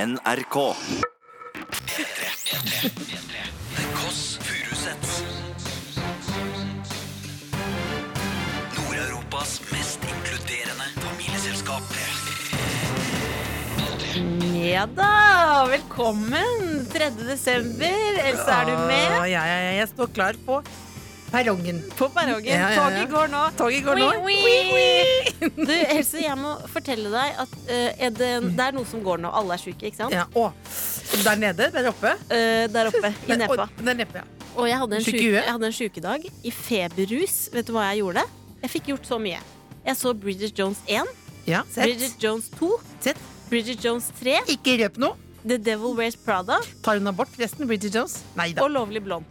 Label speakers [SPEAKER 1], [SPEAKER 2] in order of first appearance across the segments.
[SPEAKER 1] NRK.
[SPEAKER 2] Kåss Furuseths. Nord-Europas mest inkluderende familieselskap.
[SPEAKER 3] Ja da, velkommen 3. desember. Else, er du med?
[SPEAKER 4] Ja, ja, ja, jeg står klar på perrongen.
[SPEAKER 3] På perrongen.
[SPEAKER 4] Ja, ja, ja.
[SPEAKER 3] Toget går nå.
[SPEAKER 4] Toget går nå.
[SPEAKER 3] Ui, ui. Du, Else, jeg må fortelle deg at eh, er det, det er noe som går nå. Alle er syke, ikke sant?
[SPEAKER 4] Ja, å, der nede, der oppe.
[SPEAKER 3] Eh, der oppe i
[SPEAKER 4] Der-
[SPEAKER 3] nepa.
[SPEAKER 4] å, Der neppe, ja.
[SPEAKER 3] Og jeg hadde en,
[SPEAKER 4] Syk i
[SPEAKER 3] syke,
[SPEAKER 4] huet?
[SPEAKER 3] jeg hadde en sykedag i feberrus. Vet du hva jeg gjorde? Jeg fikk gjort så mye. Jeg så Bridget Jones 1,
[SPEAKER 4] ja sett.
[SPEAKER 3] Bridget Jones 2,
[SPEAKER 4] Sett.
[SPEAKER 3] Bridget Jones 3,
[SPEAKER 4] Ikke røp noe.
[SPEAKER 3] The Devil Wears Prada
[SPEAKER 4] Tar hun abort, forresten? Bridget Jones? Nei da.
[SPEAKER 3] og Lovlig blond.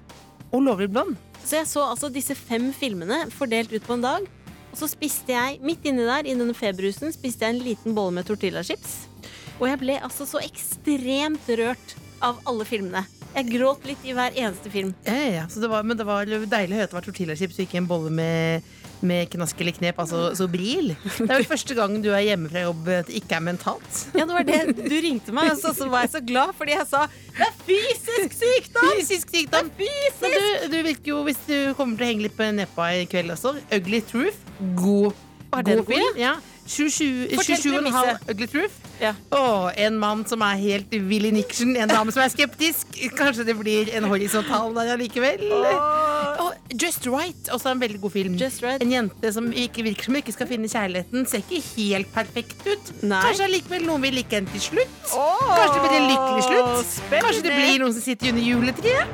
[SPEAKER 4] Og lovlig blond.
[SPEAKER 3] Så jeg så altså disse fem filmene fordelt ut på en dag. Og så spiste jeg midt inni der, i denne feberrusen, spiste jeg en liten bolle med tortillachips. Og jeg ble altså så ekstremt rørt av alle filmene. Jeg gråt litt i hver eneste film.
[SPEAKER 4] Ja, ja, ja. Så det var, men det var deilig å høre at det var tortillachips og ikke en bolle med, med knask eller knep. Altså sobril. Det er vel første gang du er hjemme fra jobb at det ikke er mentalt.
[SPEAKER 3] Ja, det var det du ringte meg, og så, så var jeg så glad fordi jeg sa det er fysisk sykdom!
[SPEAKER 4] Fysisk sykdom. Men du, du virker jo, hvis du kommer til å henge litt på neppa i kveld også, Ugly Truth, god,
[SPEAKER 3] Var
[SPEAKER 4] god
[SPEAKER 3] den god,
[SPEAKER 4] film. Ja. 27
[SPEAKER 3] Fortell
[SPEAKER 4] 27,5 Ugly Truth.
[SPEAKER 3] Ja.
[SPEAKER 4] Og en mann som er helt Willy Nixon, en dame som er skeptisk. Kanskje det blir en horisontal der allikevel. Og Just Right, også en veldig god film.
[SPEAKER 3] Just Right.
[SPEAKER 4] En jente som ikke virker som hun ikke skal finne kjærligheten, ser ikke helt perfekt ut.
[SPEAKER 3] Nei.
[SPEAKER 4] Kanskje allikevel noen vil like henne til slutt. Kanskje det blir en lykkelig slutt. Kanskje det blir noen som sitter under juletreet.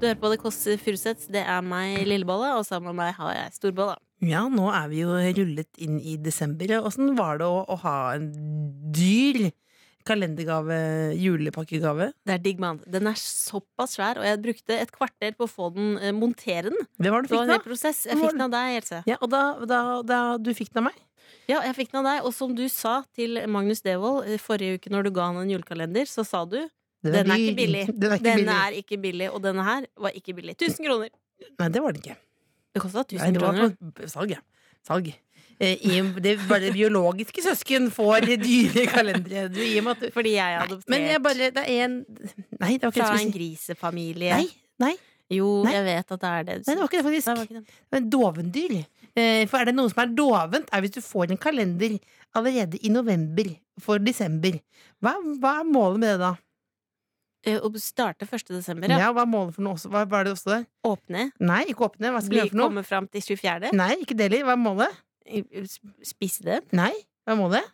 [SPEAKER 3] Du hører på Det Kåss Furuseth. Det er meg, Lillebolle, og sammen med meg har jeg Storbolle.
[SPEAKER 4] Ja, nå er vi jo rullet inn i desember. Åssen var det å, å ha en dyr kalendergave, julepakkegave?
[SPEAKER 3] Det er digg, mann. Den er såpass svær, og jeg brukte et kvarter på å få den eh, montere den.
[SPEAKER 4] Det var
[SPEAKER 3] Det var
[SPEAKER 4] det du fikk
[SPEAKER 3] en
[SPEAKER 4] da?
[SPEAKER 3] hel prosess. Jeg
[SPEAKER 4] Hva
[SPEAKER 3] fikk den av deg, Else.
[SPEAKER 4] Ja, og da, da, da du fikk den av meg?
[SPEAKER 3] Ja, jeg fikk den av deg. Og som du sa til Magnus Devold eh, forrige uke når du ga han en julekalender, så sa du den er ikke billig.
[SPEAKER 4] Den er ikke
[SPEAKER 3] Denne
[SPEAKER 4] billig.
[SPEAKER 3] er ikke billig, og denne her var ikke billig. 1000 kroner.
[SPEAKER 4] Nei, det var den ikke.
[SPEAKER 3] Det kosta
[SPEAKER 4] Nei,
[SPEAKER 3] 1000
[SPEAKER 4] det var
[SPEAKER 3] kroner.
[SPEAKER 4] på salg, ja. Salg. Eh, i, det er bare biologiske søsken får dyre kalendere. Du, I og med at du
[SPEAKER 3] Fordi jeg er
[SPEAKER 4] Nei, Men jeg
[SPEAKER 3] adoptert
[SPEAKER 4] bare Det er en Nei, det var ikke det
[SPEAKER 3] fra
[SPEAKER 4] jeg
[SPEAKER 3] en
[SPEAKER 4] skulle si.
[SPEAKER 3] grisefamilie.
[SPEAKER 4] Nei, nei,
[SPEAKER 3] Jo,
[SPEAKER 4] Nei.
[SPEAKER 3] jeg vet at det er det. du
[SPEAKER 4] nei, det var
[SPEAKER 3] sier.
[SPEAKER 4] ikke
[SPEAKER 3] Nei, det
[SPEAKER 4] det, faktisk.
[SPEAKER 3] var ikke det.
[SPEAKER 4] Men dovendyr. Eh, For er det noe som er dovent, er hvis du får en kalender allerede i november for desember. Hva, hva er målet med det, da?
[SPEAKER 3] Eh, Å starte 1. desember,
[SPEAKER 4] Ja.
[SPEAKER 3] ja.
[SPEAKER 4] hva er målet for noe også? Hva var det også der?
[SPEAKER 3] Åpne.
[SPEAKER 4] Nei, ikke åpne. Hva skal vi
[SPEAKER 3] Bli,
[SPEAKER 4] gjøre for noe?
[SPEAKER 3] komme fram til 24.
[SPEAKER 4] Nei, ikke det heller. Hva er målet?
[SPEAKER 3] Sp- Spise den.
[SPEAKER 4] Nei, hva er målet?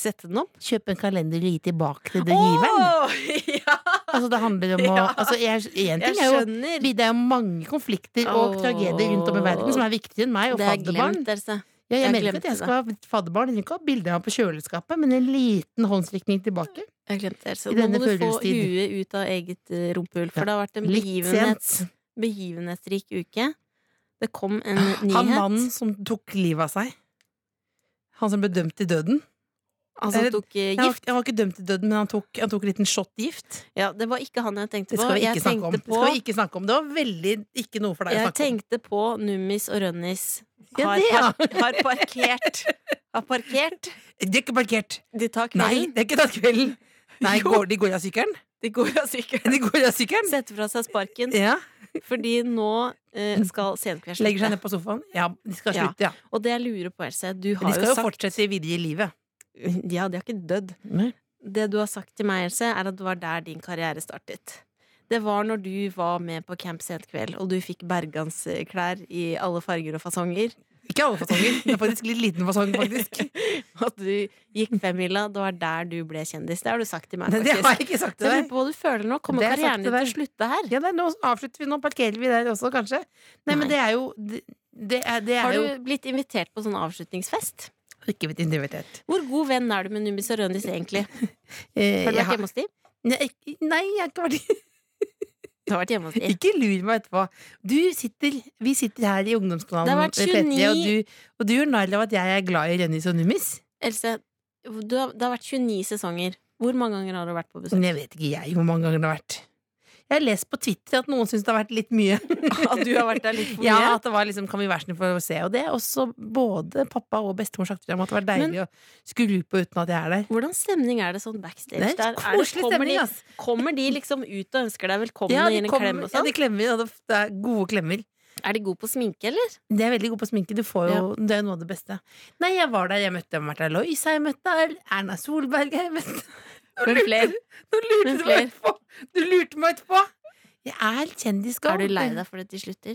[SPEAKER 3] Sette den opp.
[SPEAKER 4] Kjøpe en kalender og gi tilbake til
[SPEAKER 3] Åh, ja!
[SPEAKER 4] Altså, det handler om å
[SPEAKER 3] Ja.
[SPEAKER 4] altså, jeg,
[SPEAKER 3] Jeg
[SPEAKER 4] en ting er jo,
[SPEAKER 3] skjønner.
[SPEAKER 4] Det er jo mange konflikter og
[SPEAKER 3] Åh.
[SPEAKER 4] tragedier rundt om i verden som er viktigere enn meg og
[SPEAKER 3] Det er
[SPEAKER 4] fadderbarn.
[SPEAKER 3] glemt, Else.
[SPEAKER 4] Ja, jeg
[SPEAKER 3] Jeg
[SPEAKER 4] merker
[SPEAKER 3] glemte
[SPEAKER 4] at jeg skal ha fadderbarn. Jeg vil ikke ha bilde av på kjøleskapet, men en liten håndsrekning tilbake.
[SPEAKER 3] Jeg glemte det, altså.
[SPEAKER 4] I
[SPEAKER 3] Nå
[SPEAKER 4] denne
[SPEAKER 3] må du få
[SPEAKER 4] førjulstid.
[SPEAKER 3] huet ut av eget eh, rumpehull, for
[SPEAKER 4] Ja,
[SPEAKER 3] det har vært en
[SPEAKER 4] Litt
[SPEAKER 3] begivenhet,
[SPEAKER 4] sent.
[SPEAKER 3] begivenhetsrik uke. Det kom en
[SPEAKER 4] Han
[SPEAKER 3] nyhet.
[SPEAKER 4] mannen som tok livet av seg. Han som ble dømt til døden.
[SPEAKER 3] Han som
[SPEAKER 4] Eller-
[SPEAKER 3] tok eh,
[SPEAKER 4] Han var,
[SPEAKER 3] gift.
[SPEAKER 4] han var ikke dømt til døden, men han tok, han tok en liten shot gift.
[SPEAKER 3] Ja, det var ikke han jeg tenkte
[SPEAKER 4] Det
[SPEAKER 3] på.
[SPEAKER 4] skal vi
[SPEAKER 3] Jeg
[SPEAKER 4] ikke snakke
[SPEAKER 3] tenkte
[SPEAKER 4] om. Det,
[SPEAKER 3] på,
[SPEAKER 4] skal vi ikke snakke om. det var veldig ikke noe for deg å
[SPEAKER 3] jeg
[SPEAKER 4] snakke om.
[SPEAKER 3] tenkte på Nummis og Rønnis
[SPEAKER 4] Ja,
[SPEAKER 3] har,
[SPEAKER 4] det, ja.
[SPEAKER 3] par, har parkert. Har parkert.
[SPEAKER 4] Det er ikke parkert!
[SPEAKER 3] De tar
[SPEAKER 4] Nei,
[SPEAKER 3] kvelden.
[SPEAKER 4] det er ikke tatt kvelden! Nei,
[SPEAKER 3] Jo.
[SPEAKER 4] går, de går av sykkelen?
[SPEAKER 3] De går av sykkelen.
[SPEAKER 4] De går av sykkelen?
[SPEAKER 3] Setter fra seg sparken,
[SPEAKER 4] Ja.
[SPEAKER 3] fordi nå eh, skal senkveld
[SPEAKER 4] Legger seg
[SPEAKER 3] slutte.
[SPEAKER 4] ned på sofaen? Ja, de skal
[SPEAKER 3] Ja.
[SPEAKER 4] slutte, ja.
[SPEAKER 3] Og det jeg lurer på, Else, du
[SPEAKER 4] De
[SPEAKER 3] har
[SPEAKER 4] skal
[SPEAKER 3] jo
[SPEAKER 4] jo
[SPEAKER 3] sagt
[SPEAKER 4] fortsette videre i livet.
[SPEAKER 3] Ja, de har ikke dødd. Det du har sagt til meg, Else, er at det var der din karriere startet. Det var når du var med på Camp sent kveld, og du fikk bergansklær i alle farger og fasonger.
[SPEAKER 4] Ikke alle fasonger. Det er faktisk litt liten fasong, faktisk.
[SPEAKER 3] Og du gikk femmila. Det var der du ble kjendis. Det har du sagt til meg.
[SPEAKER 4] Det, det
[SPEAKER 3] faktisk.
[SPEAKER 4] har jeg ikke
[SPEAKER 3] Så
[SPEAKER 4] sagt til
[SPEAKER 3] jeg
[SPEAKER 4] deg.
[SPEAKER 3] lurer på hva du føler nå. Kommer
[SPEAKER 4] Det har jeg
[SPEAKER 3] karrieren
[SPEAKER 4] sagt
[SPEAKER 3] din
[SPEAKER 4] til
[SPEAKER 3] til å slutte her?
[SPEAKER 4] Ja, nei, nå avslutter vi, nå parkerer vi der også, kanskje. Nei, men
[SPEAKER 3] Nei.
[SPEAKER 4] det er jo Det, det er, det er
[SPEAKER 3] Har
[SPEAKER 4] jo
[SPEAKER 3] du blitt invitert på sånn avslutningsfest?
[SPEAKER 4] ikke blitt invitert.
[SPEAKER 3] Hvor god venn er du med Numis og Rønnis egentlig?
[SPEAKER 4] Eh,
[SPEAKER 3] Har du
[SPEAKER 4] jeg
[SPEAKER 3] vært
[SPEAKER 4] har-
[SPEAKER 3] hjemme hos dem?
[SPEAKER 4] Nei, jeg- nei, jeg har ikke vært
[SPEAKER 3] Du har vært hjemme hos dem.
[SPEAKER 4] Ikke lur meg etterpå. Du sitter, vi sitter her i ungdomskanalen
[SPEAKER 3] Det har vært
[SPEAKER 4] eh, P3,
[SPEAKER 3] 29
[SPEAKER 4] og, du, og du gjør narr av at jeg er glad i Rønnis og Nummis.
[SPEAKER 3] Else, du har, det har vært 29 sesonger. Hvor mange ganger har du vært på besøk?
[SPEAKER 4] Men jeg vet ikke jeg hvor mange ganger det har vært. Jeg har lest på Twitter at noen syns det har vært litt mye.
[SPEAKER 3] At du har vært der litt for mye?
[SPEAKER 4] Ja, at det var liksom, Kan vi være snill for å se og det? Og så både pappa og bestemor sagt at det måtte være deilig å skru på uten at jeg er der.
[SPEAKER 3] Hvordan stemning er det sånn backstage
[SPEAKER 4] Det er
[SPEAKER 3] der? Er
[SPEAKER 4] en
[SPEAKER 3] det,
[SPEAKER 4] koselig
[SPEAKER 3] kommer,
[SPEAKER 4] stemning,
[SPEAKER 3] de,
[SPEAKER 4] ass.
[SPEAKER 3] kommer de liksom ut og ønsker deg velkommen og gir en
[SPEAKER 4] kommer-
[SPEAKER 3] klem og
[SPEAKER 4] ja,
[SPEAKER 3] sånn?
[SPEAKER 4] de klemmer, og det det er gode klemmer.
[SPEAKER 3] Er de gode på sminke, eller?
[SPEAKER 4] De er veldig gode på sminke. Du får jo, Det er jo noe av det beste. Nei, jeg var der. Jeg møtte Martha Loisa, jeg møtte Erna Solberg jeg møtte.
[SPEAKER 3] Men flere.
[SPEAKER 4] Nå lurte
[SPEAKER 3] Men
[SPEAKER 4] du
[SPEAKER 3] flere.
[SPEAKER 4] meg etterpå! Du lurte meg etterpå! Jeg er kjendisgal.
[SPEAKER 3] Er du lei deg for at de slutter?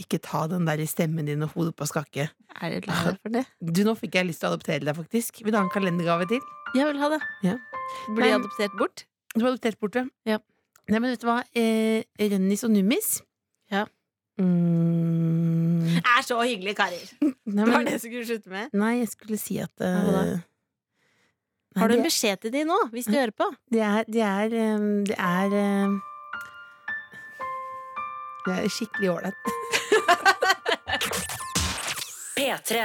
[SPEAKER 4] Ikke ta den der i stemmen din og hodet på skakke.
[SPEAKER 3] Er du lei
[SPEAKER 4] Ah.
[SPEAKER 3] deg for det?
[SPEAKER 4] Du, Nå fikk jeg lyst til å adoptere deg, faktisk. Vil du ha en kalendergave til?
[SPEAKER 3] Jeg vil ha det.
[SPEAKER 4] Ja.
[SPEAKER 3] Blir
[SPEAKER 4] Men-
[SPEAKER 3] adoptert bort?
[SPEAKER 4] Du har adoptert bort,
[SPEAKER 3] Ja.
[SPEAKER 4] Nei, men vet du hva? Eh, Rønnis og Nummis
[SPEAKER 3] Ja.
[SPEAKER 4] mm, Nei,
[SPEAKER 3] Er så hyggelige karer! Det var
[SPEAKER 4] men,
[SPEAKER 3] det jeg skulle slutte med.
[SPEAKER 4] nei, jeg skulle si at eh,
[SPEAKER 3] Hva da?
[SPEAKER 4] nei,
[SPEAKER 3] Har du
[SPEAKER 4] det-
[SPEAKER 3] en beskjed til de nå, hvis du hører på?
[SPEAKER 4] Det er Det er, ehm, det er ehm, Det er skikkelig ålreit.
[SPEAKER 1] P3.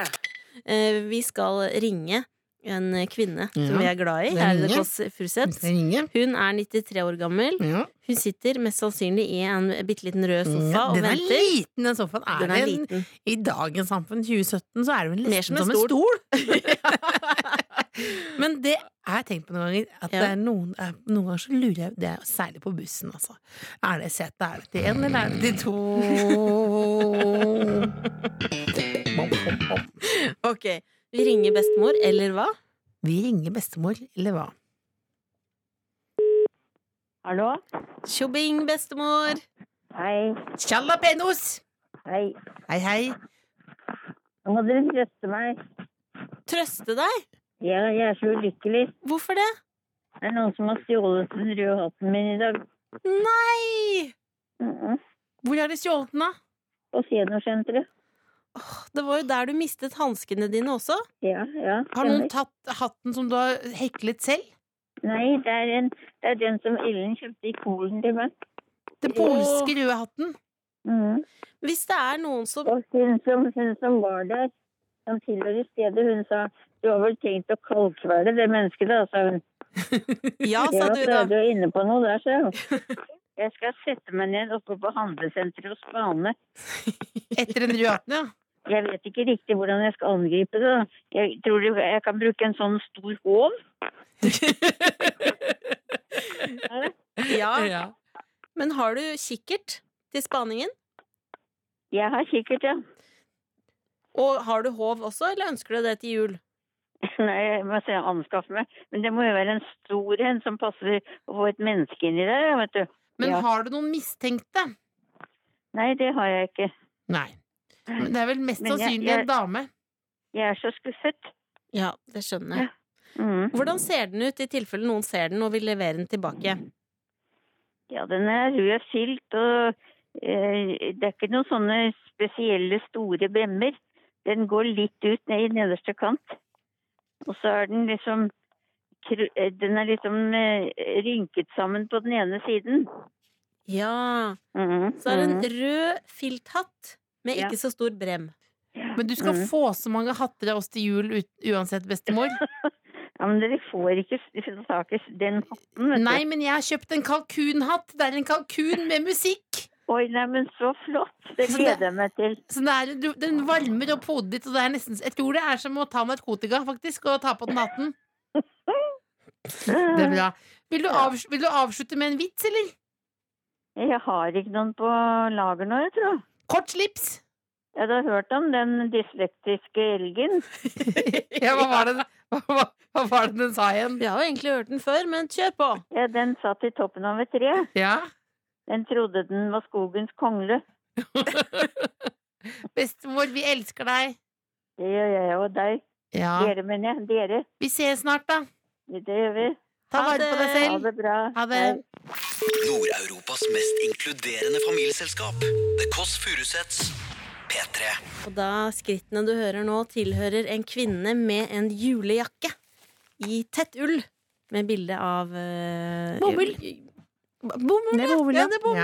[SPEAKER 3] Eh, Vi skal ringe en kvinne
[SPEAKER 4] Ja.
[SPEAKER 3] som vi er glad i.
[SPEAKER 4] Hvem
[SPEAKER 3] Er det
[SPEAKER 4] ringer?
[SPEAKER 3] Kåss Furuseth?
[SPEAKER 4] ringe?
[SPEAKER 3] Hun er 93 år gammel.
[SPEAKER 4] Ja.
[SPEAKER 3] Hun sitter mest sannsynlig i en bitte liten rød sofa og
[SPEAKER 4] den er
[SPEAKER 3] venter.
[SPEAKER 4] liten, den sofaen. Er
[SPEAKER 3] Den er
[SPEAKER 4] det en-
[SPEAKER 3] liten.
[SPEAKER 4] I dagens samfunn, 2017, så er det vel
[SPEAKER 3] Mer
[SPEAKER 4] nesten
[SPEAKER 3] som en
[SPEAKER 4] som en stol. Men det har jeg tenkt på noen ganger. At
[SPEAKER 3] Ja.
[SPEAKER 4] det er noen, er, noen ganger så lurer jeg det er Særlig på bussen, altså. Er det sete? Er det til én, eller er det til to? Bom, bom, bom.
[SPEAKER 3] Ok, vi ringer bestemor, eller hva?
[SPEAKER 4] Vi ringer bestemor, eller hva?
[SPEAKER 5] Hallo?
[SPEAKER 3] Tjobbing, bestemor!
[SPEAKER 5] Hei.
[SPEAKER 4] Tjalla, penos!
[SPEAKER 5] Hei.
[SPEAKER 4] Hei, hei.
[SPEAKER 5] Nå må dere trøste meg.
[SPEAKER 3] Trøste deg?
[SPEAKER 5] Jeg, jeg er så ulykkelig.
[SPEAKER 3] Hvorfor det?
[SPEAKER 5] Det er noen som har stjålet den røde hatten min i dag.
[SPEAKER 3] Nei!
[SPEAKER 5] Mm -mm.
[SPEAKER 4] Hvor har de stjålet den, da?
[SPEAKER 5] På Seniorsentre.
[SPEAKER 3] Det var jo der du mistet hanskene dine også.
[SPEAKER 5] Ja, ja.
[SPEAKER 4] Har noen
[SPEAKER 5] stemmer.
[SPEAKER 4] tatt hatten som du har heklet selv?
[SPEAKER 5] Nei, det er, en, det er den som Ellen kjøpte i kolen til meg.
[SPEAKER 4] Den polske røde hatten?
[SPEAKER 5] Mm.
[SPEAKER 3] Hvis det er noen som
[SPEAKER 5] Og hun som, hun som var der, som tilhører stedet, hun sa du har vel tenkt å kalkvele det mennesket, da, sa hun.
[SPEAKER 3] Ja,
[SPEAKER 5] Ja,
[SPEAKER 3] sa du
[SPEAKER 5] så
[SPEAKER 3] da.
[SPEAKER 5] er du inne på noe der, sa hun. Jeg skal sette meg ned oppe på handlesenteret og spane.
[SPEAKER 4] Etter den røde hatten, ja.
[SPEAKER 5] Jeg vet ikke riktig hvordan jeg skal angripe det. da. Jeg tror det- jeg kan bruke en sånn stor håv.
[SPEAKER 3] Ja. Men har du kikkert til spaningen?
[SPEAKER 5] Jeg har kikkert, ja.
[SPEAKER 3] Og har du håv også, eller ønsker du det til jul?
[SPEAKER 5] Nei, jeg må se anskaffe meg. Men det må jo være en stor en som passer å få et menneske inni der, ja, vet du.
[SPEAKER 4] Men
[SPEAKER 5] Ja.
[SPEAKER 4] har du noen mistenkte?
[SPEAKER 5] Nei, det har jeg ikke.
[SPEAKER 4] Nei. Men det er vel mest
[SPEAKER 5] Men jeg-
[SPEAKER 4] sannsynlig
[SPEAKER 5] jeg-
[SPEAKER 4] en dame.
[SPEAKER 5] Jeg er så skuffet.
[SPEAKER 3] Ja, det skjønner jeg.
[SPEAKER 5] Mm.
[SPEAKER 3] Hvordan ser den ut i tilfelle noen ser den og vil levere den tilbake?
[SPEAKER 5] Ja, den er rød filt, og eh, det er ikke noen sånne spesielle store bremmer. Den går litt ut ned i nederste kant. Og så er den liksom kru- eh, den er liksom eh, rynket sammen på den ene siden.
[SPEAKER 3] Ja, Mm.
[SPEAKER 5] Mhm,
[SPEAKER 3] så er det en
[SPEAKER 5] mhm.
[SPEAKER 3] rød filthatt med
[SPEAKER 5] Ja.
[SPEAKER 3] ikke så stor brem.
[SPEAKER 4] Men du skal
[SPEAKER 5] Mm.
[SPEAKER 4] få så mange hatter av oss til jul ut, uansett, bestemor.
[SPEAKER 5] Ja, men dere får ikke s- tak i s- den hatten, vet
[SPEAKER 4] Nei,
[SPEAKER 5] du.
[SPEAKER 4] men jeg har kjøpt en kalkunhatt! Det er en kalkun med musikk!
[SPEAKER 5] Oi, nei, men så flott. Det
[SPEAKER 4] Så det-
[SPEAKER 5] gleder jeg meg til.
[SPEAKER 4] Så det er, du- den varmer opp hodet ditt, og det er nesten Jeg tror det er som å ta narkotika, faktisk, og ta på den hatten. Det er bra. Vil du, avs vil du avslutte med en vits, eller?
[SPEAKER 5] Jeg har ikke noen på lager nå, jeg tror.
[SPEAKER 4] Kort slips!
[SPEAKER 5] Ja, du har hørt om den dyslektiske elgen?
[SPEAKER 4] Ja, hva var det, hva, hva, hva var det den sa igjen?
[SPEAKER 3] Vi har jo egentlig hørt den før, men kjør på!
[SPEAKER 5] Ja, den satt i toppen av et tre.
[SPEAKER 4] Ja.
[SPEAKER 5] Den trodde den var skogens kongle.
[SPEAKER 4] Bestemor, vi elsker deg.
[SPEAKER 5] Det gjør jeg og deg.
[SPEAKER 4] Ja.
[SPEAKER 5] Dere, mener jeg. Dere.
[SPEAKER 4] Vi ses snart, da.
[SPEAKER 5] Det gjør vi.
[SPEAKER 4] Ta
[SPEAKER 3] Ha
[SPEAKER 4] vare på deg
[SPEAKER 3] det.
[SPEAKER 5] Ha
[SPEAKER 4] selv.
[SPEAKER 5] det bra.
[SPEAKER 4] Ha det.
[SPEAKER 5] Hei.
[SPEAKER 2] Nord-Europas mest inkluderende familieselskap. The Kåss Furuseths. P3.
[SPEAKER 3] Og da skrittene du hører nå, tilhører en kvinne med en julejakke i tett ull, med bilde av eh,
[SPEAKER 4] Bomull.
[SPEAKER 3] Bomull, ja. ja! Det er bomull, ja.
[SPEAKER 4] den kan bruke.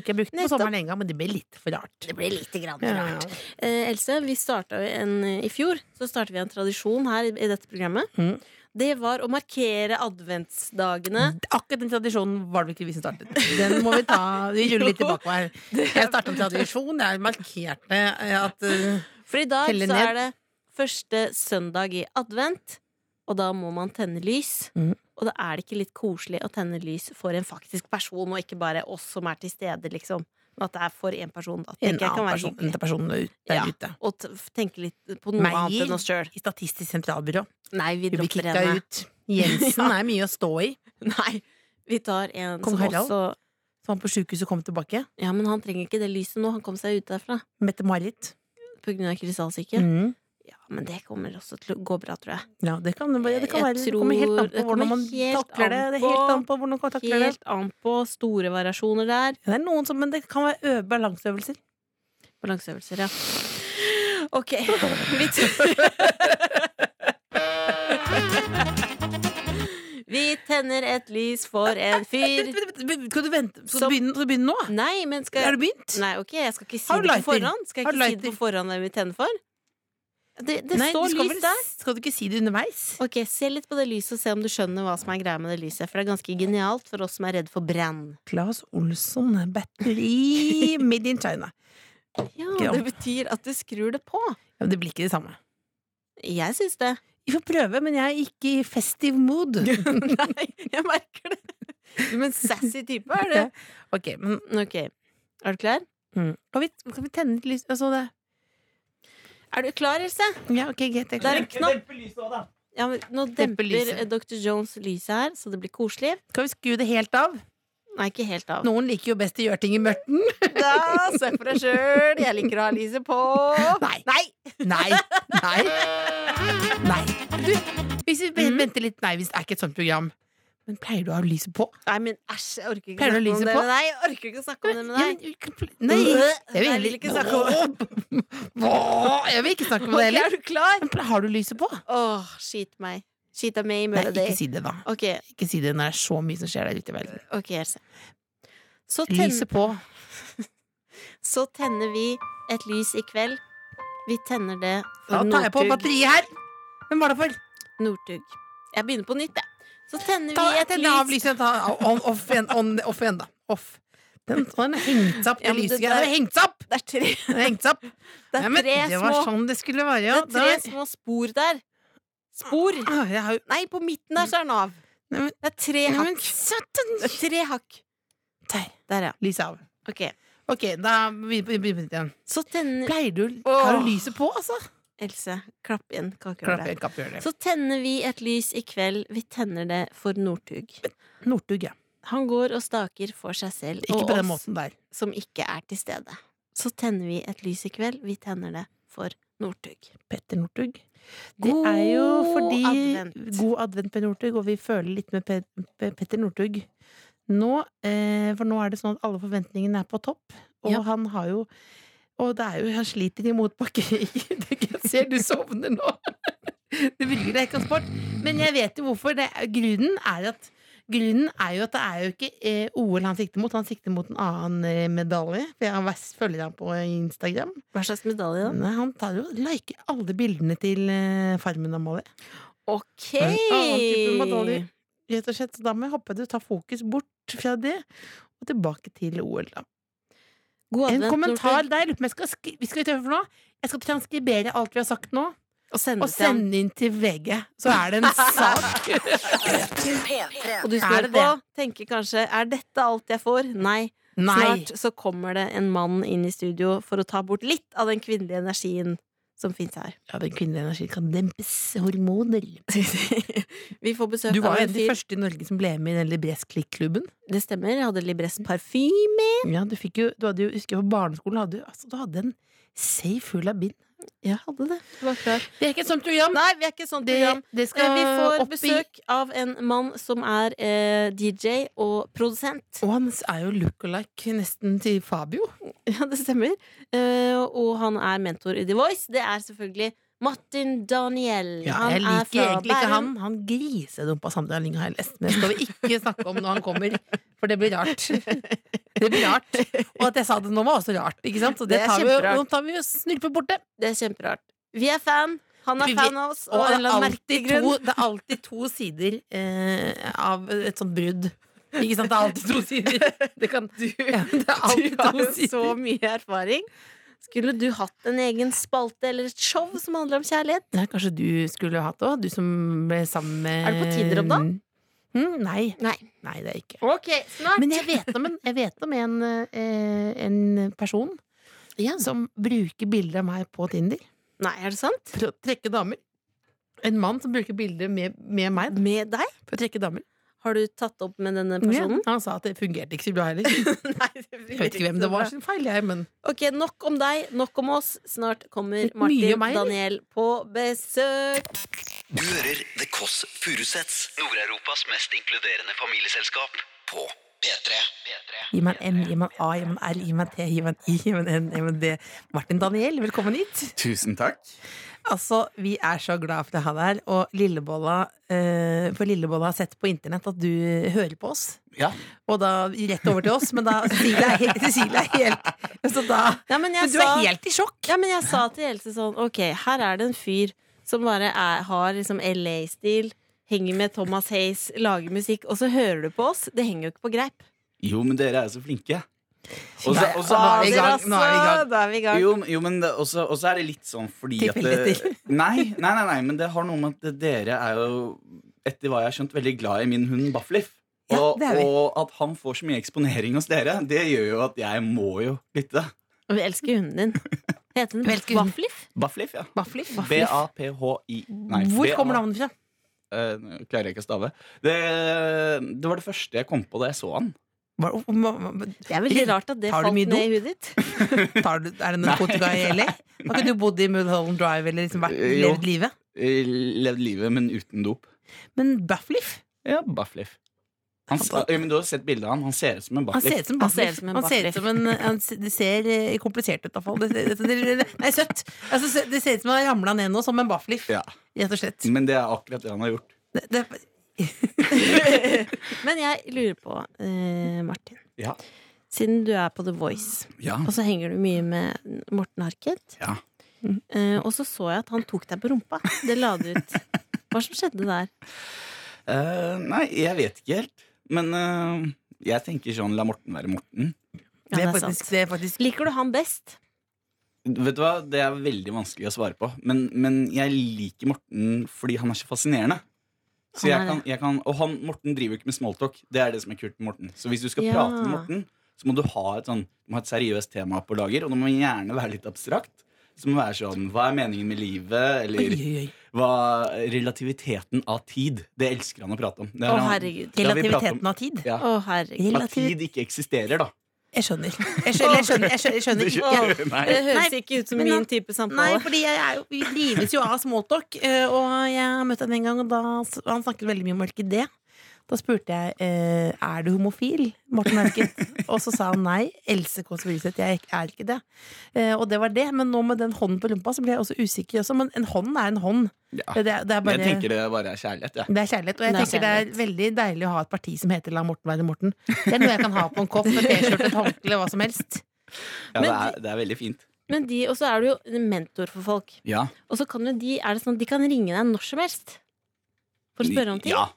[SPEAKER 4] Jeg brukte den på
[SPEAKER 3] Nettopp.
[SPEAKER 4] sommeren en gang, men det ble litt for rart. Det ble litt for rart.
[SPEAKER 3] Eh, Else, vi starta jo en, i fjor så startet vi en tradisjon her i, i dette programmet.
[SPEAKER 4] Mm.
[SPEAKER 3] det var å markere adventsdagene.
[SPEAKER 4] Akkurat den tradisjonen var det vel ikke vi som startet. Den må vi ta, vi ruller litt tilbake her. Jeg startet en tradisjon, jeg markerte eh, at eh,
[SPEAKER 3] For i dag
[SPEAKER 4] Telle
[SPEAKER 3] så
[SPEAKER 4] ned.
[SPEAKER 3] er det første søndag i advent, og da må man tenne lys.
[SPEAKER 4] Mhm.
[SPEAKER 3] Og da er det ikke litt koselig å tenne lys for en faktisk person, og ikke bare oss som er til stede, liksom. Men at det er for én person. Da
[SPEAKER 4] en
[SPEAKER 3] tenker jeg kan
[SPEAKER 4] annen
[SPEAKER 3] være
[SPEAKER 4] person, en
[SPEAKER 3] hyggelig.
[SPEAKER 4] person der
[SPEAKER 3] Ja.
[SPEAKER 4] ute.
[SPEAKER 3] Og t- tenke litt på noe
[SPEAKER 4] Meg.
[SPEAKER 3] annet enn oss sjøl.
[SPEAKER 4] I Statistisk sentralbyrå.
[SPEAKER 3] Nei, vi
[SPEAKER 4] Vi blir
[SPEAKER 3] dropper
[SPEAKER 4] klikka
[SPEAKER 3] henne.
[SPEAKER 4] ut. Jensen er mye å stå i.
[SPEAKER 3] Nei, vi tar en
[SPEAKER 4] Kong
[SPEAKER 3] som
[SPEAKER 4] Harald?
[SPEAKER 3] også
[SPEAKER 4] Så han på sjukehuset kom tilbake.
[SPEAKER 3] Ja, men han trenger ikke det lyset nå. Han kom seg ut derfra
[SPEAKER 4] Mette-Marit.
[SPEAKER 3] pga. krystallsyke.
[SPEAKER 4] Mm.
[SPEAKER 3] Ja, men det kommer også til å gå bra, tror jeg.
[SPEAKER 4] Ja, det kan det, være- det kan
[SPEAKER 3] Jeg
[SPEAKER 4] være. Det kommer
[SPEAKER 3] tror-
[SPEAKER 4] helt an på
[SPEAKER 3] det
[SPEAKER 4] hvordan
[SPEAKER 3] kommer
[SPEAKER 4] man
[SPEAKER 3] helt
[SPEAKER 4] takler det.
[SPEAKER 3] an
[SPEAKER 4] Det er helt
[SPEAKER 3] på-
[SPEAKER 4] an på hvordan man takler det.
[SPEAKER 3] Helt an på store variasjoner der.
[SPEAKER 4] Det er noen som, men det kan være ø- balanseøvelser.
[SPEAKER 3] Balanseøvelser, ja. Ok. Vi, vi tenner et lys for en fyr.
[SPEAKER 4] Skal du vente? Skal
[SPEAKER 3] Som-
[SPEAKER 4] du begynne, skal du begynne nå?
[SPEAKER 3] Nei, men
[SPEAKER 4] Er
[SPEAKER 3] skal
[SPEAKER 4] du begynt?
[SPEAKER 3] Nei, ok, jeg skal ikke si
[SPEAKER 4] Har du
[SPEAKER 3] det på
[SPEAKER 4] lighter?
[SPEAKER 3] forhånd. Skal jeg
[SPEAKER 4] Har du
[SPEAKER 3] ikke si det på
[SPEAKER 4] lighten?
[SPEAKER 3] forhånd hvem vi tenner for? Det, det
[SPEAKER 4] Nei,
[SPEAKER 3] står
[SPEAKER 4] du skal
[SPEAKER 3] lys
[SPEAKER 4] vel-
[SPEAKER 3] der.
[SPEAKER 4] Skal du ikke si det underveis?
[SPEAKER 3] Ok, Se litt på det lyset og se om du skjønner hva som er greia med det lyset. For det er ganske genialt for oss som er redd for brann.
[SPEAKER 4] Claes Olsson Batteri Mid in China.
[SPEAKER 3] Ja,
[SPEAKER 4] Ja.
[SPEAKER 3] Det betyr at du skrur det på.
[SPEAKER 4] Ja, men det blir ikke det samme.
[SPEAKER 3] Jeg syns det.
[SPEAKER 4] Vi får prøve, men jeg er ikke i festive mood.
[SPEAKER 3] Nei, jeg merker det. Du er en sassy type, er du?
[SPEAKER 4] ok, men mm.
[SPEAKER 3] Ok, Er du klar?
[SPEAKER 4] kan, vi, kan vi tenne litt lys? Altså det
[SPEAKER 3] Er du klar, Else?
[SPEAKER 4] Ja, ok, greit. jeg
[SPEAKER 3] Det er en
[SPEAKER 4] klarer.
[SPEAKER 3] knapp. Ja, men nå
[SPEAKER 4] Demper
[SPEAKER 3] demper
[SPEAKER 4] lyset.
[SPEAKER 3] Dr. Jones lyset her, så det blir koselig.
[SPEAKER 4] Skal vi skru det helt av?
[SPEAKER 3] Nei, ikke helt av.
[SPEAKER 4] Noen liker jo best å gjøre ting i mørten.
[SPEAKER 3] Da, se for deg sjøl. Jeg liker å ha lyset på.
[SPEAKER 4] Nei. Nei. Nei. Nei. Du, hvis vi
[SPEAKER 3] Mm.
[SPEAKER 4] venter litt Nei, hvis det er ikke et sånt program. Men pleier du å ha lyset på?
[SPEAKER 3] Nei, men æsj, jeg orker ikke
[SPEAKER 4] Pleier du å
[SPEAKER 3] snakke om
[SPEAKER 4] lyse
[SPEAKER 3] det
[SPEAKER 4] på?
[SPEAKER 3] med deg. Jeg orker ikke å snakke om det med
[SPEAKER 4] Ja, men
[SPEAKER 3] deg.
[SPEAKER 4] vi kan pl- Nei. Jeg vil
[SPEAKER 3] Nei, jeg vil
[SPEAKER 4] heller
[SPEAKER 3] ikke snakke om
[SPEAKER 4] Hva? Jeg vil ikke snakke om det
[SPEAKER 3] Ok,
[SPEAKER 4] heller.
[SPEAKER 3] er du klar?
[SPEAKER 4] Men har du lyset på?
[SPEAKER 3] Åh, skit meg. Skita meg i
[SPEAKER 4] Nei,
[SPEAKER 3] mølet
[SPEAKER 4] ikke
[SPEAKER 3] ditt.
[SPEAKER 4] si det, da.
[SPEAKER 3] Ok,
[SPEAKER 4] Ikke si det når det er så mye som skjer der ute i verden.
[SPEAKER 3] ok, Else. Så, tenn,
[SPEAKER 4] Lyset på.
[SPEAKER 3] så tenner vi et lys i kveld. Vi tenner det
[SPEAKER 4] Da
[SPEAKER 3] for
[SPEAKER 4] tar jeg på
[SPEAKER 3] Northug.
[SPEAKER 4] batteriet her. Hvem var det for?
[SPEAKER 3] Northug. Jeg begynner på nytt, jeg. Så tenner
[SPEAKER 4] Ta,
[SPEAKER 3] vi
[SPEAKER 4] jeg
[SPEAKER 3] et
[SPEAKER 4] tenner av
[SPEAKER 3] lys.
[SPEAKER 4] lyset. Ta, on, off, igjen, on, off igjen, da. Off. Den, den er hengt seg opp,
[SPEAKER 3] Ja,
[SPEAKER 4] det
[SPEAKER 3] men
[SPEAKER 4] lyset.
[SPEAKER 3] det
[SPEAKER 4] Den
[SPEAKER 3] der-
[SPEAKER 4] er hengt seg opp!
[SPEAKER 3] Det er tre,
[SPEAKER 4] Den er hengt seg opp.
[SPEAKER 3] det
[SPEAKER 4] Nei,
[SPEAKER 3] er
[SPEAKER 4] men
[SPEAKER 3] tre
[SPEAKER 4] det var
[SPEAKER 3] små
[SPEAKER 4] sånn det skulle være, ja.
[SPEAKER 3] Det er
[SPEAKER 4] Da-
[SPEAKER 3] tre små spor der. Spor!
[SPEAKER 4] Ah, jeg har jo
[SPEAKER 3] Nei, på midten der så er den av.
[SPEAKER 4] Nei, men-
[SPEAKER 3] Det er tre
[SPEAKER 4] Nei, men
[SPEAKER 3] hakk. Det er tre hakk.
[SPEAKER 4] Der.
[SPEAKER 3] Der, ja.
[SPEAKER 4] Lyset av.
[SPEAKER 3] Ok.
[SPEAKER 4] Ok, da begynner vi på nytt igjen.
[SPEAKER 3] Så tenner
[SPEAKER 4] Pleier du
[SPEAKER 3] Åh.
[SPEAKER 4] Har du lyset på, altså?
[SPEAKER 3] Else, klapp inn
[SPEAKER 4] Klapp
[SPEAKER 3] kakerollet.
[SPEAKER 4] igjen, klapp igjen.
[SPEAKER 3] Så tenner vi et lys i kveld. Vi tenner det for Northug.
[SPEAKER 4] Northug, ja.
[SPEAKER 3] Han går og staker for seg selv
[SPEAKER 4] Ikke
[SPEAKER 3] og
[SPEAKER 4] på den
[SPEAKER 3] oss
[SPEAKER 4] måten der.
[SPEAKER 3] som ikke er til stede. Så tenner vi et lys i kveld. Vi tenner det for Northug.
[SPEAKER 4] Petter Northug. Det
[SPEAKER 3] God
[SPEAKER 4] er jo fordi
[SPEAKER 3] advent.
[SPEAKER 4] God advent, Per Northug, og vi føler litt med Pe Pe Petter Northug nå. Eh, for nå er det sånn at alle forventningene er på topp, og
[SPEAKER 3] Ja.
[SPEAKER 4] han har jo Og det er jo Han sliter i motbakke. Jeg ser du sovner nå. Det bryr deg ikke om sport. Men jeg vet jo hvorfor. Det, er- grunnen er at Grunnen er jo at det er jo ikke eh, OL han sikter mot, han sikter mot en annen eh, medalje. For jeg vers- følger ham på Instagram.
[SPEAKER 3] Hva slags medalje, da?
[SPEAKER 4] Nei, han tar jo liker alle bildene til eh, Farmen Amalie.
[SPEAKER 3] Ok!
[SPEAKER 4] Ja, annen type medalje. Rett og slett, så da må jeg håpe du tar fokus bort fra det, og tilbake til OL, da.
[SPEAKER 3] God
[SPEAKER 4] En
[SPEAKER 3] advent,
[SPEAKER 4] kommentar
[SPEAKER 3] Northug.
[SPEAKER 4] der. lurer på om Jeg skal, skri- vi skal, gjøre for noe. jeg skal transkribere alt vi har sagt nå,
[SPEAKER 3] Og send
[SPEAKER 4] og
[SPEAKER 3] det til han.
[SPEAKER 4] sende inn til VG. Så er det en sak.
[SPEAKER 3] Og du
[SPEAKER 4] Er
[SPEAKER 3] står
[SPEAKER 4] det
[SPEAKER 3] på, tenker kanskje Er dette alt jeg får? Nei.
[SPEAKER 4] Nei.
[SPEAKER 3] Snart så kommer det en mann inn i studio for å ta bort litt av den kvinnelige energien som fins her.
[SPEAKER 4] Ja, den kvinnelige energien kan dempes. Hormoner.
[SPEAKER 3] Vi får besøk
[SPEAKER 4] Du var
[SPEAKER 3] av en
[SPEAKER 4] jo en av de
[SPEAKER 3] fyr.
[SPEAKER 4] første i Norge som ble med i den Libresk-klikk-klubben.
[SPEAKER 3] Det stemmer. Jeg hadde Libres parfyme.
[SPEAKER 4] Ja, du fikk jo, du hadde jo, husker jeg på barneskolen, hadde, du- altså, du hadde en safe full av bind.
[SPEAKER 3] Jeg hadde det. det var klart.
[SPEAKER 4] Det er ikke et sånt program.
[SPEAKER 3] Nei, vi er ikke et sånt
[SPEAKER 4] Det,
[SPEAKER 3] program.
[SPEAKER 4] det
[SPEAKER 3] Eh,
[SPEAKER 4] skal
[SPEAKER 3] Vi får
[SPEAKER 4] opp i
[SPEAKER 3] besøk av en mann som er eh, DJ og produsent.
[SPEAKER 4] Og han er jo look-alike nesten til Fabio.
[SPEAKER 3] Ja, det stemmer. Eh, og han er mentor i The Voice. Det er selvfølgelig Martin Daniel.
[SPEAKER 4] jeg
[SPEAKER 3] er
[SPEAKER 4] liker
[SPEAKER 3] fra
[SPEAKER 4] egentlig ikke han.
[SPEAKER 3] Bærum.
[SPEAKER 4] Han grisedumpa Sandra Lyng har jeg lest, men det skal vi ikke snakke om når han kommer, for det blir rart. Det blir rart. Og at jeg sa det nå, var også rart, ikke sant? Så det,
[SPEAKER 3] Det er
[SPEAKER 4] tar vi jo,
[SPEAKER 3] kjemperart.
[SPEAKER 4] nå tar vi jo snurper borte.
[SPEAKER 3] Det er kjemperart. Vi er fan. Han er
[SPEAKER 4] Vi-
[SPEAKER 3] fan av oss,
[SPEAKER 4] Og
[SPEAKER 3] og av en
[SPEAKER 4] det
[SPEAKER 3] eller
[SPEAKER 4] er
[SPEAKER 3] annen merkelig
[SPEAKER 4] alltid to,
[SPEAKER 3] grunn.
[SPEAKER 4] det er alltid to sider eh, av et sånt brudd. Ikke sant? Det er alltid to sider. Det kan du ja, Det er alltid
[SPEAKER 3] Du har
[SPEAKER 4] to
[SPEAKER 3] jo
[SPEAKER 4] sider.
[SPEAKER 3] så mye erfaring. Skulle du hatt en egen spalte eller et show som handler om kjærlighet?
[SPEAKER 4] Nei, kanskje du skulle hatt det òg, du som ble sammen med
[SPEAKER 3] Er du på Tinder om dagen?
[SPEAKER 4] Mm, nei.
[SPEAKER 3] Nei.
[SPEAKER 4] Nei, det er jeg ikke.
[SPEAKER 3] Ok, snart.
[SPEAKER 4] Men jeg vet om en, jeg vet om en, eh, en person
[SPEAKER 3] Ja.
[SPEAKER 4] som bruker bilder av meg på Tinder.
[SPEAKER 3] Nei, er det sant?
[SPEAKER 4] For å trekke damer. En mann som bruker bilder med, med meg
[SPEAKER 3] Med deg?
[SPEAKER 4] for å trekke damer.
[SPEAKER 3] Har du tatt opp med denne
[SPEAKER 4] Ja,
[SPEAKER 3] personen?
[SPEAKER 4] han sa at det fungerte ikke så bra heller. Jeg
[SPEAKER 3] Nei, det blir
[SPEAKER 4] vet ikke
[SPEAKER 3] ikke
[SPEAKER 4] hvem
[SPEAKER 3] så
[SPEAKER 4] det var
[SPEAKER 3] bra.
[SPEAKER 4] sin feil, jeg, men
[SPEAKER 3] Ok, nok om deg, nok om oss. Snart kommer
[SPEAKER 4] Mye
[SPEAKER 3] Martin
[SPEAKER 4] meg, eller?
[SPEAKER 3] Daniel på besøk.
[SPEAKER 2] Du hører The Kåss Furuseths, Nord-Europas mest inkluderende familieselskap, på P3.
[SPEAKER 4] Gi meg en M, gi meg en A, gi meg en R, gi meg en T, gi meg en I, gi meg en N, gi meg en D. Martin Daniel, velkommen hit.
[SPEAKER 1] Tusen takk.
[SPEAKER 4] Altså, Vi er så glad for å ha deg her. Og Lillebolla, eh, for Lillebolla har sett på internett at du hører på oss.
[SPEAKER 1] Ja.
[SPEAKER 4] Og da rett over til oss, men da Cecilie er helt, Cecilie er helt Så da
[SPEAKER 3] Ja, men jeg
[SPEAKER 4] Men du er
[SPEAKER 3] sa-
[SPEAKER 4] helt i sjokk!
[SPEAKER 3] Ja, men jeg sa til Else sånn Ok, her er det en fyr som bare er, har liksom LA-stil Henger med Thomas Hayes, lager musikk Og så hører du på oss, det henger jo ikke på greip
[SPEAKER 1] Jo, men dere er så flinke. Og så,
[SPEAKER 4] Nei,
[SPEAKER 1] og så
[SPEAKER 4] nå er
[SPEAKER 1] har
[SPEAKER 4] vi i
[SPEAKER 1] altså-
[SPEAKER 4] gang, nå er vi i gang.
[SPEAKER 3] Da er vi i gang
[SPEAKER 1] Jo, men- jo, men det- og så og så er det litt sånn fordi at det, nei, nei, nei, nei, men det har noe med at dere er jo, etter hva jeg har skjønt, veldig glad i min hund Bafflif.
[SPEAKER 4] Ja,
[SPEAKER 1] Og,
[SPEAKER 4] det er vi.
[SPEAKER 1] og at han får så mye eksponering hos dere, det gjør jo at jeg må jo lytte.
[SPEAKER 3] Og vi elsker hunden din Heter
[SPEAKER 4] Vi
[SPEAKER 3] den
[SPEAKER 4] elsker hunden.
[SPEAKER 3] Baffliff?
[SPEAKER 1] Bafflif, ja.
[SPEAKER 4] Bafflif.
[SPEAKER 1] B-A-P-H-I. Nei,
[SPEAKER 4] Hvor
[SPEAKER 1] B-A-
[SPEAKER 4] kommer navnet fra?
[SPEAKER 1] Eh, nå klarer jeg ikke å stave. Det, det var det første jeg kom på da jeg så han.
[SPEAKER 4] Hva- hva- hva-
[SPEAKER 3] Det er veldig rart at det
[SPEAKER 4] Har du
[SPEAKER 3] falt
[SPEAKER 4] mye
[SPEAKER 3] ned i hudet ditt
[SPEAKER 4] Tar du, er det narkotika i LA? Har ikke du bodd i Mulholland Drive eller liksom vært,
[SPEAKER 1] Eh, jo.
[SPEAKER 4] levd livet?
[SPEAKER 1] Eh, Levde livet, men uten dop.
[SPEAKER 4] Men Bafflif?
[SPEAKER 1] Ja, Bafflif. Han,
[SPEAKER 4] Han-
[SPEAKER 1] ja, men du har sett bildet av han. Han ser ut som en
[SPEAKER 4] Han ser
[SPEAKER 1] Bafflif.
[SPEAKER 4] ut som,
[SPEAKER 3] Han ser ut som en
[SPEAKER 4] han ser ut
[SPEAKER 3] Bafflif.
[SPEAKER 4] som en han ser, Det ser eh, komplisert ut, i hvert fall. Det, det, det, det, nei, søtt. Altså, sø- det ser ut som han har ramla ned nå, som en Bafflif.
[SPEAKER 1] Ja.
[SPEAKER 4] Rett og slett.
[SPEAKER 1] Men det er akkurat det han har gjort.
[SPEAKER 4] Det, det,
[SPEAKER 3] Men jeg lurer på, eh, Martin
[SPEAKER 1] Ja.
[SPEAKER 3] Siden du er på The Voice
[SPEAKER 1] Ja.
[SPEAKER 3] Og så henger du mye med Morten Harket
[SPEAKER 1] Ja.
[SPEAKER 3] eh, Og så så jeg at han tok deg på rumpa Det la du ut Hva som skjedde der?
[SPEAKER 1] Eh, nei, jeg vet ikke helt. Men eh, jeg tenker sånn la Morten være Morten.
[SPEAKER 3] Ja,
[SPEAKER 4] det,
[SPEAKER 3] det
[SPEAKER 4] er
[SPEAKER 3] er
[SPEAKER 4] faktisk,
[SPEAKER 3] sant
[SPEAKER 4] det er faktisk
[SPEAKER 3] Liker du han best?
[SPEAKER 1] Vet du hva, Det er veldig vanskelig å svare på. Men, men jeg liker Morten fordi han er så fascinerende. Så
[SPEAKER 3] Han
[SPEAKER 1] jeg
[SPEAKER 3] er
[SPEAKER 1] kan, jeg kan, og han, Morten driver jo ikke med smalltalk. Det er det som er kult med Morten. Så hvis du skal
[SPEAKER 3] Ja.
[SPEAKER 1] prate med Morten, så må du ha et, sånn, du må ha et seriøst tema på lager. Og det må gjerne være litt abstrakt. Så det må være sånn, Hva er meningen med
[SPEAKER 4] Oi,
[SPEAKER 1] livet? Eller
[SPEAKER 4] oi, oi.
[SPEAKER 1] hva relativiteten av tid. Det elsker han å prate om. Det
[SPEAKER 3] Å,
[SPEAKER 1] er han-
[SPEAKER 3] herregud.
[SPEAKER 1] Ja, vi prater om-
[SPEAKER 4] Relativiteten av tid.
[SPEAKER 1] Ja.
[SPEAKER 3] Å, herregud.
[SPEAKER 1] At tid ikke eksisterer, da.
[SPEAKER 4] Jeg skjønner. Jeg skjønner, jeg skjønner, jeg skjønner, jeg skjønner.
[SPEAKER 1] Det
[SPEAKER 4] ikke.
[SPEAKER 1] skjønner
[SPEAKER 4] Ja.
[SPEAKER 1] du, nei.
[SPEAKER 3] Det høres
[SPEAKER 4] Nei,
[SPEAKER 3] ikke ut som
[SPEAKER 4] men
[SPEAKER 3] min
[SPEAKER 4] han-
[SPEAKER 3] type
[SPEAKER 4] Nei,
[SPEAKER 3] samtale.
[SPEAKER 4] fordi jeg er jo, vi drives jo av smalltalk, eh, og jeg har møtt henne en gang, og da s- han snakket veldig mye om orkidé. Da spurte jeg eh, er du homofil, Morten Hauket. og så sa han nei. Else Kåss Furuseth, jeg er ikke det. Eh, og det var det. Men nå med den hånden på rumpa, så ble jeg også usikker også. Men en hånd er en hånd.
[SPEAKER 1] Ja.
[SPEAKER 4] Det, er- det er bare
[SPEAKER 1] Ah, Jeg tenker det bare er kjærlighet. Ja.
[SPEAKER 4] Det er kjærlighet, og jeg
[SPEAKER 3] Det er
[SPEAKER 4] tenker det er veldig deilig å ha et parti som heter La Morten være Morten. Det er noe jeg kan ha på en kopp, en T-skjorte, et håndkle, hva som helst.
[SPEAKER 1] Ja, det,
[SPEAKER 3] Men
[SPEAKER 1] er, det er veldig fint.
[SPEAKER 3] Men de, Og så er du jo en mentor for folk.
[SPEAKER 1] Ja.
[SPEAKER 3] Og så kan jo de er det sånn, de kan ringe deg når som helst for å spørre om ting.
[SPEAKER 1] Ja.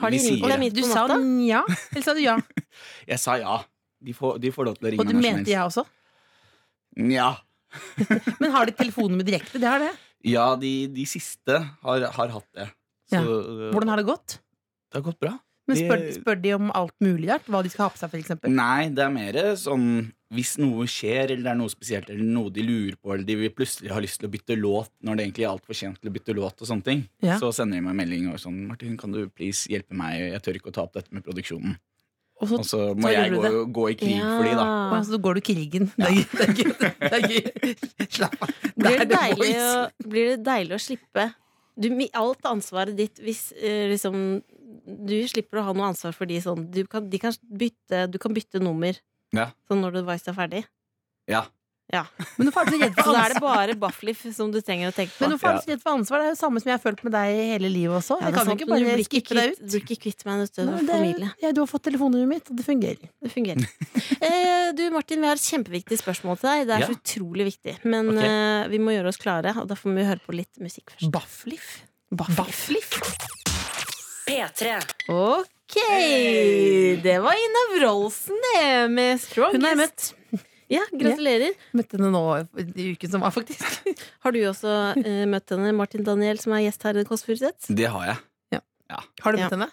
[SPEAKER 3] Har de
[SPEAKER 1] Vi
[SPEAKER 3] ringt
[SPEAKER 1] sier
[SPEAKER 3] deg
[SPEAKER 1] det.
[SPEAKER 3] midt
[SPEAKER 4] Du
[SPEAKER 3] på
[SPEAKER 4] sa
[SPEAKER 3] natta?
[SPEAKER 4] nja, eller sa du ja?
[SPEAKER 1] Jeg sa ja. De får, de får lov til å ringe
[SPEAKER 4] Og du
[SPEAKER 1] meg når som
[SPEAKER 4] mente
[SPEAKER 1] helst.
[SPEAKER 4] ja også?
[SPEAKER 1] Ja.
[SPEAKER 4] Men har de telefonnummer direkte? Det har det.
[SPEAKER 1] Ja, de, de siste har, har hatt det. Så
[SPEAKER 4] Ja. Hvordan har det gått?
[SPEAKER 1] det har gått bra.
[SPEAKER 4] Men spør,
[SPEAKER 1] Det-
[SPEAKER 4] spør de om alt mulig rart? Hva de skal ha på seg, for eksempel?
[SPEAKER 1] Nei, det er mer sånn hvis noe skjer, eller det er noe spesielt, eller noe de lurer på, eller de vil plutselig har lyst til å bytte låt når det egentlig er altfor sent til å bytte låt, og sånne ting,
[SPEAKER 4] Ja.
[SPEAKER 1] så sender de meg en melding og sånn 'Martin, kan du please hjelpe meg? Jeg tør ikke å ta opp dette med produksjonen.'
[SPEAKER 4] Og så,
[SPEAKER 1] Og så
[SPEAKER 4] så
[SPEAKER 1] må jeg
[SPEAKER 4] gjør
[SPEAKER 1] gå,
[SPEAKER 4] du
[SPEAKER 1] gå i krig for de, da.
[SPEAKER 4] og så går du krigen. Det er gøy. Det er gøy. Det er gøy. Slapp av.
[SPEAKER 3] Blir det,
[SPEAKER 4] Det er The
[SPEAKER 3] deilig å,
[SPEAKER 4] Voice.
[SPEAKER 3] blir det deilig å slippe du, mi- alt ansvaret ditt hvis eh, liksom Du slipper å ha noe ansvar for de sånn. Du kan, de kan bytte, du kan bytte nummer
[SPEAKER 1] Ja.
[SPEAKER 3] sånn når The Voice er ferdig.
[SPEAKER 1] Ja.
[SPEAKER 3] Ja.
[SPEAKER 4] Men hvorfor er du så redd
[SPEAKER 3] Så
[SPEAKER 4] for
[SPEAKER 3] da er
[SPEAKER 4] ansvar?
[SPEAKER 3] det bare Baffliff som du trenger å tenke på.
[SPEAKER 4] Men hvorfor er du så redd for ansvar? Det er jo det samme som jeg har følt med deg hele livet også.
[SPEAKER 3] Ja, det
[SPEAKER 4] Jeg
[SPEAKER 3] er
[SPEAKER 4] kan jo
[SPEAKER 3] sant,
[SPEAKER 4] ikke
[SPEAKER 3] men du
[SPEAKER 4] bare
[SPEAKER 3] blir ikke
[SPEAKER 4] skippe deg
[SPEAKER 3] kvitt-
[SPEAKER 4] ut.
[SPEAKER 3] Du blir ikke kvitt meg nødt til å
[SPEAKER 4] Nei,
[SPEAKER 3] formidle.
[SPEAKER 4] ja, du har fått telefonnummeret mitt, og det fungerer.
[SPEAKER 3] Det fungerer. eh, du Martin, vi har et kjempeviktig spørsmål til deg. Det er
[SPEAKER 1] Ja.
[SPEAKER 3] så utrolig viktig. Men
[SPEAKER 1] Ok.
[SPEAKER 3] eh, vi må gjøre oss klare, og da får vi høre på litt musikk først.
[SPEAKER 4] Baffliff?
[SPEAKER 6] P3.
[SPEAKER 3] Ok! Det var Ina Wroldsen, det, med Strongest.
[SPEAKER 4] Hun har jeg møtt.
[SPEAKER 3] Ja, gratulerer.
[SPEAKER 4] Møtte henne nå i uken som var, faktisk.
[SPEAKER 3] Har du også eh, møtt henne, Martin Daniel, som er gjest her i Kåss Furuseth?
[SPEAKER 1] Det har jeg.
[SPEAKER 4] Har du
[SPEAKER 3] Ja.
[SPEAKER 4] møtt henne?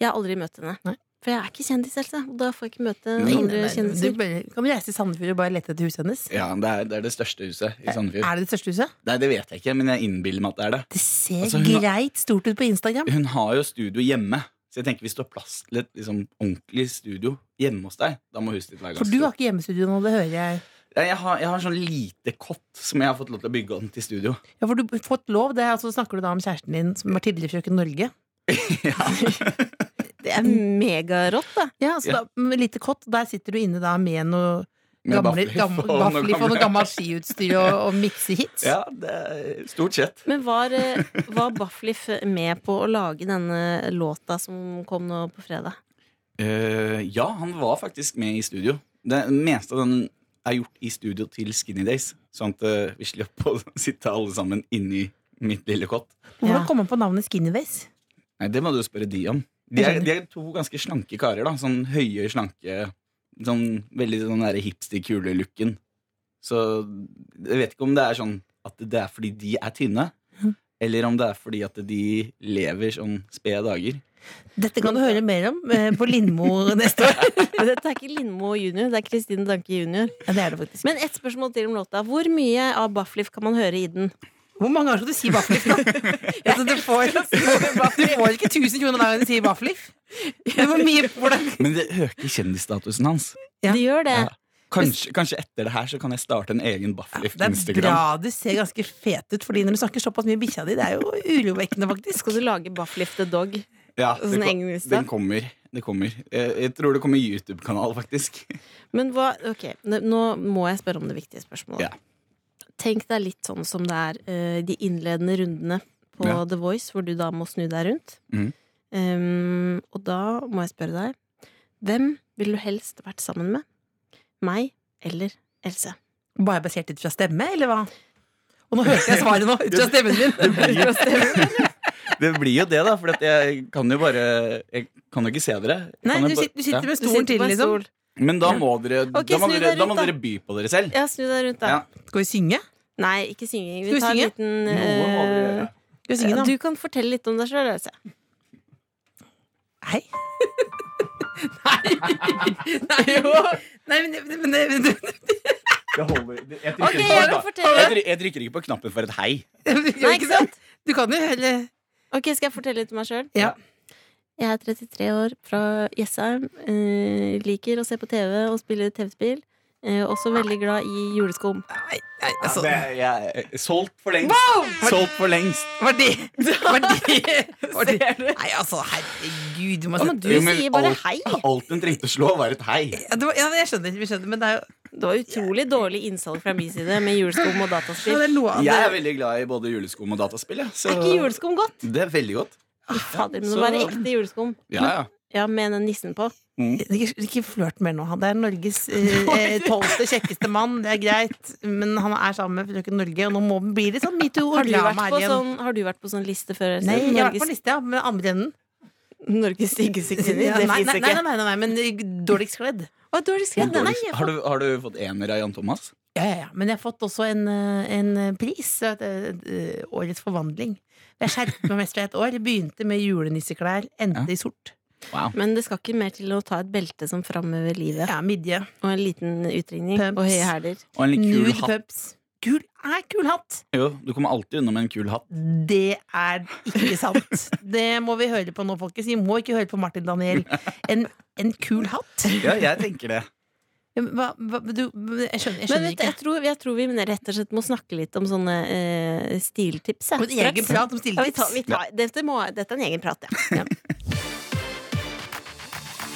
[SPEAKER 3] Jeg har aldri møtt henne.
[SPEAKER 4] Nei.
[SPEAKER 3] For jeg er ikke kjendis, Else. Og da får jeg ikke møte
[SPEAKER 1] Nei,
[SPEAKER 3] andre
[SPEAKER 4] Du
[SPEAKER 3] kjendiser.
[SPEAKER 4] bare- kan reise til Sandefjord og bare lete etter huset hennes.
[SPEAKER 1] Ja, det er det, er det største huset i Sandefjord.
[SPEAKER 4] Eh, Er det det største huset?
[SPEAKER 1] Nei, det vet jeg ikke, men jeg innbiller meg at det er det.
[SPEAKER 4] Det ser
[SPEAKER 1] Altså, hun har-
[SPEAKER 4] greit stort ut på Instagram.
[SPEAKER 1] Hun har jo studio hjemme, så jeg tenker hvis du har plass til et liksom, ordentlig studio hjemme hos deg, da må huset ditt være
[SPEAKER 4] For
[SPEAKER 1] ganske
[SPEAKER 4] du har
[SPEAKER 1] stort.
[SPEAKER 4] ikke hjemmestudio nå, det hører jeg.
[SPEAKER 1] Nei, Jeg har, jeg har en sånn lite kott som jeg har fått lov til å bygge om til studio.
[SPEAKER 4] Ja, for du har fått lov, det er altså snakker du da om kjæresten din som var tidligere frøken Norge.
[SPEAKER 3] Det er megarått, da.
[SPEAKER 4] Ja, så
[SPEAKER 1] Ja.
[SPEAKER 4] da, med lite kott, der sitter du inne da med noe
[SPEAKER 1] Med
[SPEAKER 4] gamle,
[SPEAKER 1] baffliff
[SPEAKER 4] gamle,
[SPEAKER 1] og noe
[SPEAKER 4] baffliff og noe gammelt skiutstyr og, og mikse hits.
[SPEAKER 1] Ja, det er stort sett.
[SPEAKER 3] Men var, eh, var Baffliff med på å lage denne låta som kom nå på fredag?
[SPEAKER 1] Eh, ja, han var faktisk med i studio. Det meste av den er gjort i studio til Skinny Days, sånn at eh, vi slapp å sitte alle sammen inni mitt lille kott.
[SPEAKER 4] Hvordan
[SPEAKER 3] Ja.
[SPEAKER 4] kom han på navnet Skinnyways?
[SPEAKER 1] Nei, Det må du spørre de om. De er, de er to ganske slanke karer. da Sånn høye, slanke Sånn Veldig sånn der hipster-kule-looken. Så jeg vet ikke om det er sånn at det er fordi de er tynne,
[SPEAKER 4] Mhm.
[SPEAKER 1] eller om det er fordi at de lever sånn spede dager.
[SPEAKER 4] Dette kan du høre mer om eh, på Lindmo neste år.
[SPEAKER 3] Men dette er ikke Lindmo junior, det er Kristine Danke junior.
[SPEAKER 4] Ja, det er det faktisk.
[SPEAKER 3] Men ett spørsmål til om låta. Hvor mye av Baffliff kan man høre i den?
[SPEAKER 4] Hvor mange ganger skal du si vaffelif, da? Altså, du, får, du får ikke 1000 kroner hver gang du sier vaffelif. Men Hvor mye får du?
[SPEAKER 1] Men det øker kjendisstatusen hans.
[SPEAKER 4] Ja.
[SPEAKER 3] Det gjør det.
[SPEAKER 1] Ja. Kanskje, kanskje etter det her så kan jeg starte en egen Baffliff
[SPEAKER 4] Det er bra
[SPEAKER 1] Instagram.
[SPEAKER 4] du ser ganske fet ut, Fordi når du snakker såpass mye bikkja di, det er jo urovekkende, faktisk.
[SPEAKER 3] Skal du lage Baffliff the Dog?
[SPEAKER 1] Ja,
[SPEAKER 3] Sånn
[SPEAKER 1] det, kom,
[SPEAKER 3] egen Insta.
[SPEAKER 1] den kommer. Det kommer. Jeg, jeg tror det kommer YouTube-kanal, faktisk.
[SPEAKER 3] Men hva Ok, n- nå må jeg spørre om det viktige spørsmålet.
[SPEAKER 1] Ja.
[SPEAKER 3] Tenk deg litt sånn som det er eh, de innledende rundene på
[SPEAKER 1] Ja.
[SPEAKER 3] The Voice, hvor du da må snu deg rundt.
[SPEAKER 1] Mhm.
[SPEAKER 3] Um, og da må jeg spørre deg Hvem ville du helst vært sammen med? Meg eller Else?
[SPEAKER 4] Bare basert ut fra stemme, eller hva? Og nå hørte jeg svaret nå, ut fra stemmen min.
[SPEAKER 1] blir- Det blir jo det, da, for at jeg kan jo bare Jeg kan jo ikke se dere. Jeg
[SPEAKER 4] Nei,
[SPEAKER 1] kan jo
[SPEAKER 4] du
[SPEAKER 1] bare-
[SPEAKER 4] sitter, du sitter
[SPEAKER 1] ja.
[SPEAKER 4] med stolen
[SPEAKER 3] Du sitter
[SPEAKER 4] til,
[SPEAKER 3] på en
[SPEAKER 4] liksom.
[SPEAKER 3] stol.
[SPEAKER 1] Men da må dere,
[SPEAKER 3] Ok,
[SPEAKER 1] da må
[SPEAKER 3] snu deg
[SPEAKER 1] dere, da
[SPEAKER 3] rundt,
[SPEAKER 1] må
[SPEAKER 3] da.
[SPEAKER 1] dere by på dere selv.
[SPEAKER 3] Ja, snu deg rundt, da.
[SPEAKER 1] Ja.
[SPEAKER 4] Skal vi synge?
[SPEAKER 3] Nei, ikke synging.
[SPEAKER 4] Skal vi
[SPEAKER 3] Vi tar en
[SPEAKER 4] synge?
[SPEAKER 3] liten
[SPEAKER 1] Noe må dere
[SPEAKER 3] eh,
[SPEAKER 1] gjøre.
[SPEAKER 4] Skal vi synge,
[SPEAKER 3] ja,
[SPEAKER 4] da?
[SPEAKER 3] Du kan fortelle litt om deg sjøl, Else.
[SPEAKER 4] Hei. Nei. Nei, jo. Nei, men, men, men,
[SPEAKER 1] Jeg holder- jeg trykker
[SPEAKER 3] Ok,
[SPEAKER 1] ikke på
[SPEAKER 3] jeg
[SPEAKER 1] knappen.
[SPEAKER 3] kan fortelle.
[SPEAKER 1] Jeg tryk- Jeg trykker ikke på knappen for et hei.
[SPEAKER 4] men
[SPEAKER 3] Nei, ikke sant?
[SPEAKER 4] Du kan jo heller
[SPEAKER 3] Ok, Skal jeg fortelle litt om meg sjøl?
[SPEAKER 4] Ja.
[SPEAKER 3] Jeg er 33 år, fra Jessheim. Eh, liker å se på TV og spille TV-spill. Eh, også veldig glad i juleskum.
[SPEAKER 4] Nei, nei,
[SPEAKER 1] Ja,
[SPEAKER 4] altså.
[SPEAKER 1] det- jeg- Solgt for lengst. Solgt for lengst.
[SPEAKER 4] Var det Var det var det- Nei, altså, herregud. Du må
[SPEAKER 3] Å, men du
[SPEAKER 1] Jo, men
[SPEAKER 3] sier bare
[SPEAKER 1] alt-
[SPEAKER 3] hei!
[SPEAKER 1] Alt hun trengte å slå, var et hei.
[SPEAKER 4] ja, det var, ja, jeg skjønner, vi skjønner, men det er jo
[SPEAKER 3] Det var utrolig dårlig innsalg fra min side med juleskum og
[SPEAKER 4] ja, det
[SPEAKER 3] dataspill.
[SPEAKER 4] er noe av det.
[SPEAKER 1] Jeg er veldig glad i både juleskum og dataspill. Ja. Så
[SPEAKER 3] Er ikke juleskum godt?
[SPEAKER 1] det er veldig godt.
[SPEAKER 3] Fader, men
[SPEAKER 1] så-
[SPEAKER 3] det var ekte juleskum.
[SPEAKER 1] Ja, ja.
[SPEAKER 3] Ja, med den nissen på.
[SPEAKER 4] Ikke, ikke flørt mer nå. Det er Norges eh, tolvte kjekkeste mann, det er greit. Men han er sammen med frøken Norge, og nå må blir det sånn metoo og
[SPEAKER 3] Har du
[SPEAKER 4] drama
[SPEAKER 3] vært
[SPEAKER 4] her
[SPEAKER 3] på
[SPEAKER 4] igjen.
[SPEAKER 3] sånn, har du vært på sånn liste før? Else?
[SPEAKER 4] Nei, jeg har vært på
[SPEAKER 3] Norges-
[SPEAKER 4] lista, ja, med andre enden.
[SPEAKER 3] Norges styggeste kvinner?
[SPEAKER 4] Ja,
[SPEAKER 3] det
[SPEAKER 4] nei,
[SPEAKER 3] fins
[SPEAKER 4] nei,
[SPEAKER 3] ikke.
[SPEAKER 4] nei, nei, nei, nei, men eh, dårligst kledd.
[SPEAKER 3] Å, dårlig skrevet. Nei,
[SPEAKER 1] Dårlig- Har du, har du fått ener av Jan Thomas?
[SPEAKER 4] Ja, ja, ja. Men jeg har fått også en, eh, en pris. eh, eh, Årets forvandling. Jeg skjerpet meg mest fra et år. Begynte med julenisseklær, endte i sort.
[SPEAKER 1] Wow.
[SPEAKER 3] Men det skal ikke mer til å ta et belte som framhever livet.
[SPEAKER 4] Ja, midje.
[SPEAKER 3] Og en liten utringning
[SPEAKER 4] Pumps.
[SPEAKER 3] og høye hæler.
[SPEAKER 1] Og en litt kul
[SPEAKER 4] Nude
[SPEAKER 1] hatt.
[SPEAKER 4] pups. Kul er kul hatt!
[SPEAKER 1] Jo, du kommer alltid unna med en kul hatt.
[SPEAKER 4] Det er ikke sant. Det må vi høre på nå, folkens. Vi må ikke høre på Martin Daniel. En, en kul hatt?
[SPEAKER 1] Ja, jeg tenker det.
[SPEAKER 4] Hva, hva, du, jeg skjønner,
[SPEAKER 3] Men vet,
[SPEAKER 4] jeg skjønner
[SPEAKER 3] du, jeg,
[SPEAKER 4] ikke.
[SPEAKER 3] tror, jeg tror vi rett og slett må snakke litt om sånne eh, stiltips.
[SPEAKER 4] Og en egen prat om
[SPEAKER 3] Ja, vi tar,
[SPEAKER 4] stilletips.
[SPEAKER 3] vi tar, dette, må, dette er en egen prat, ja.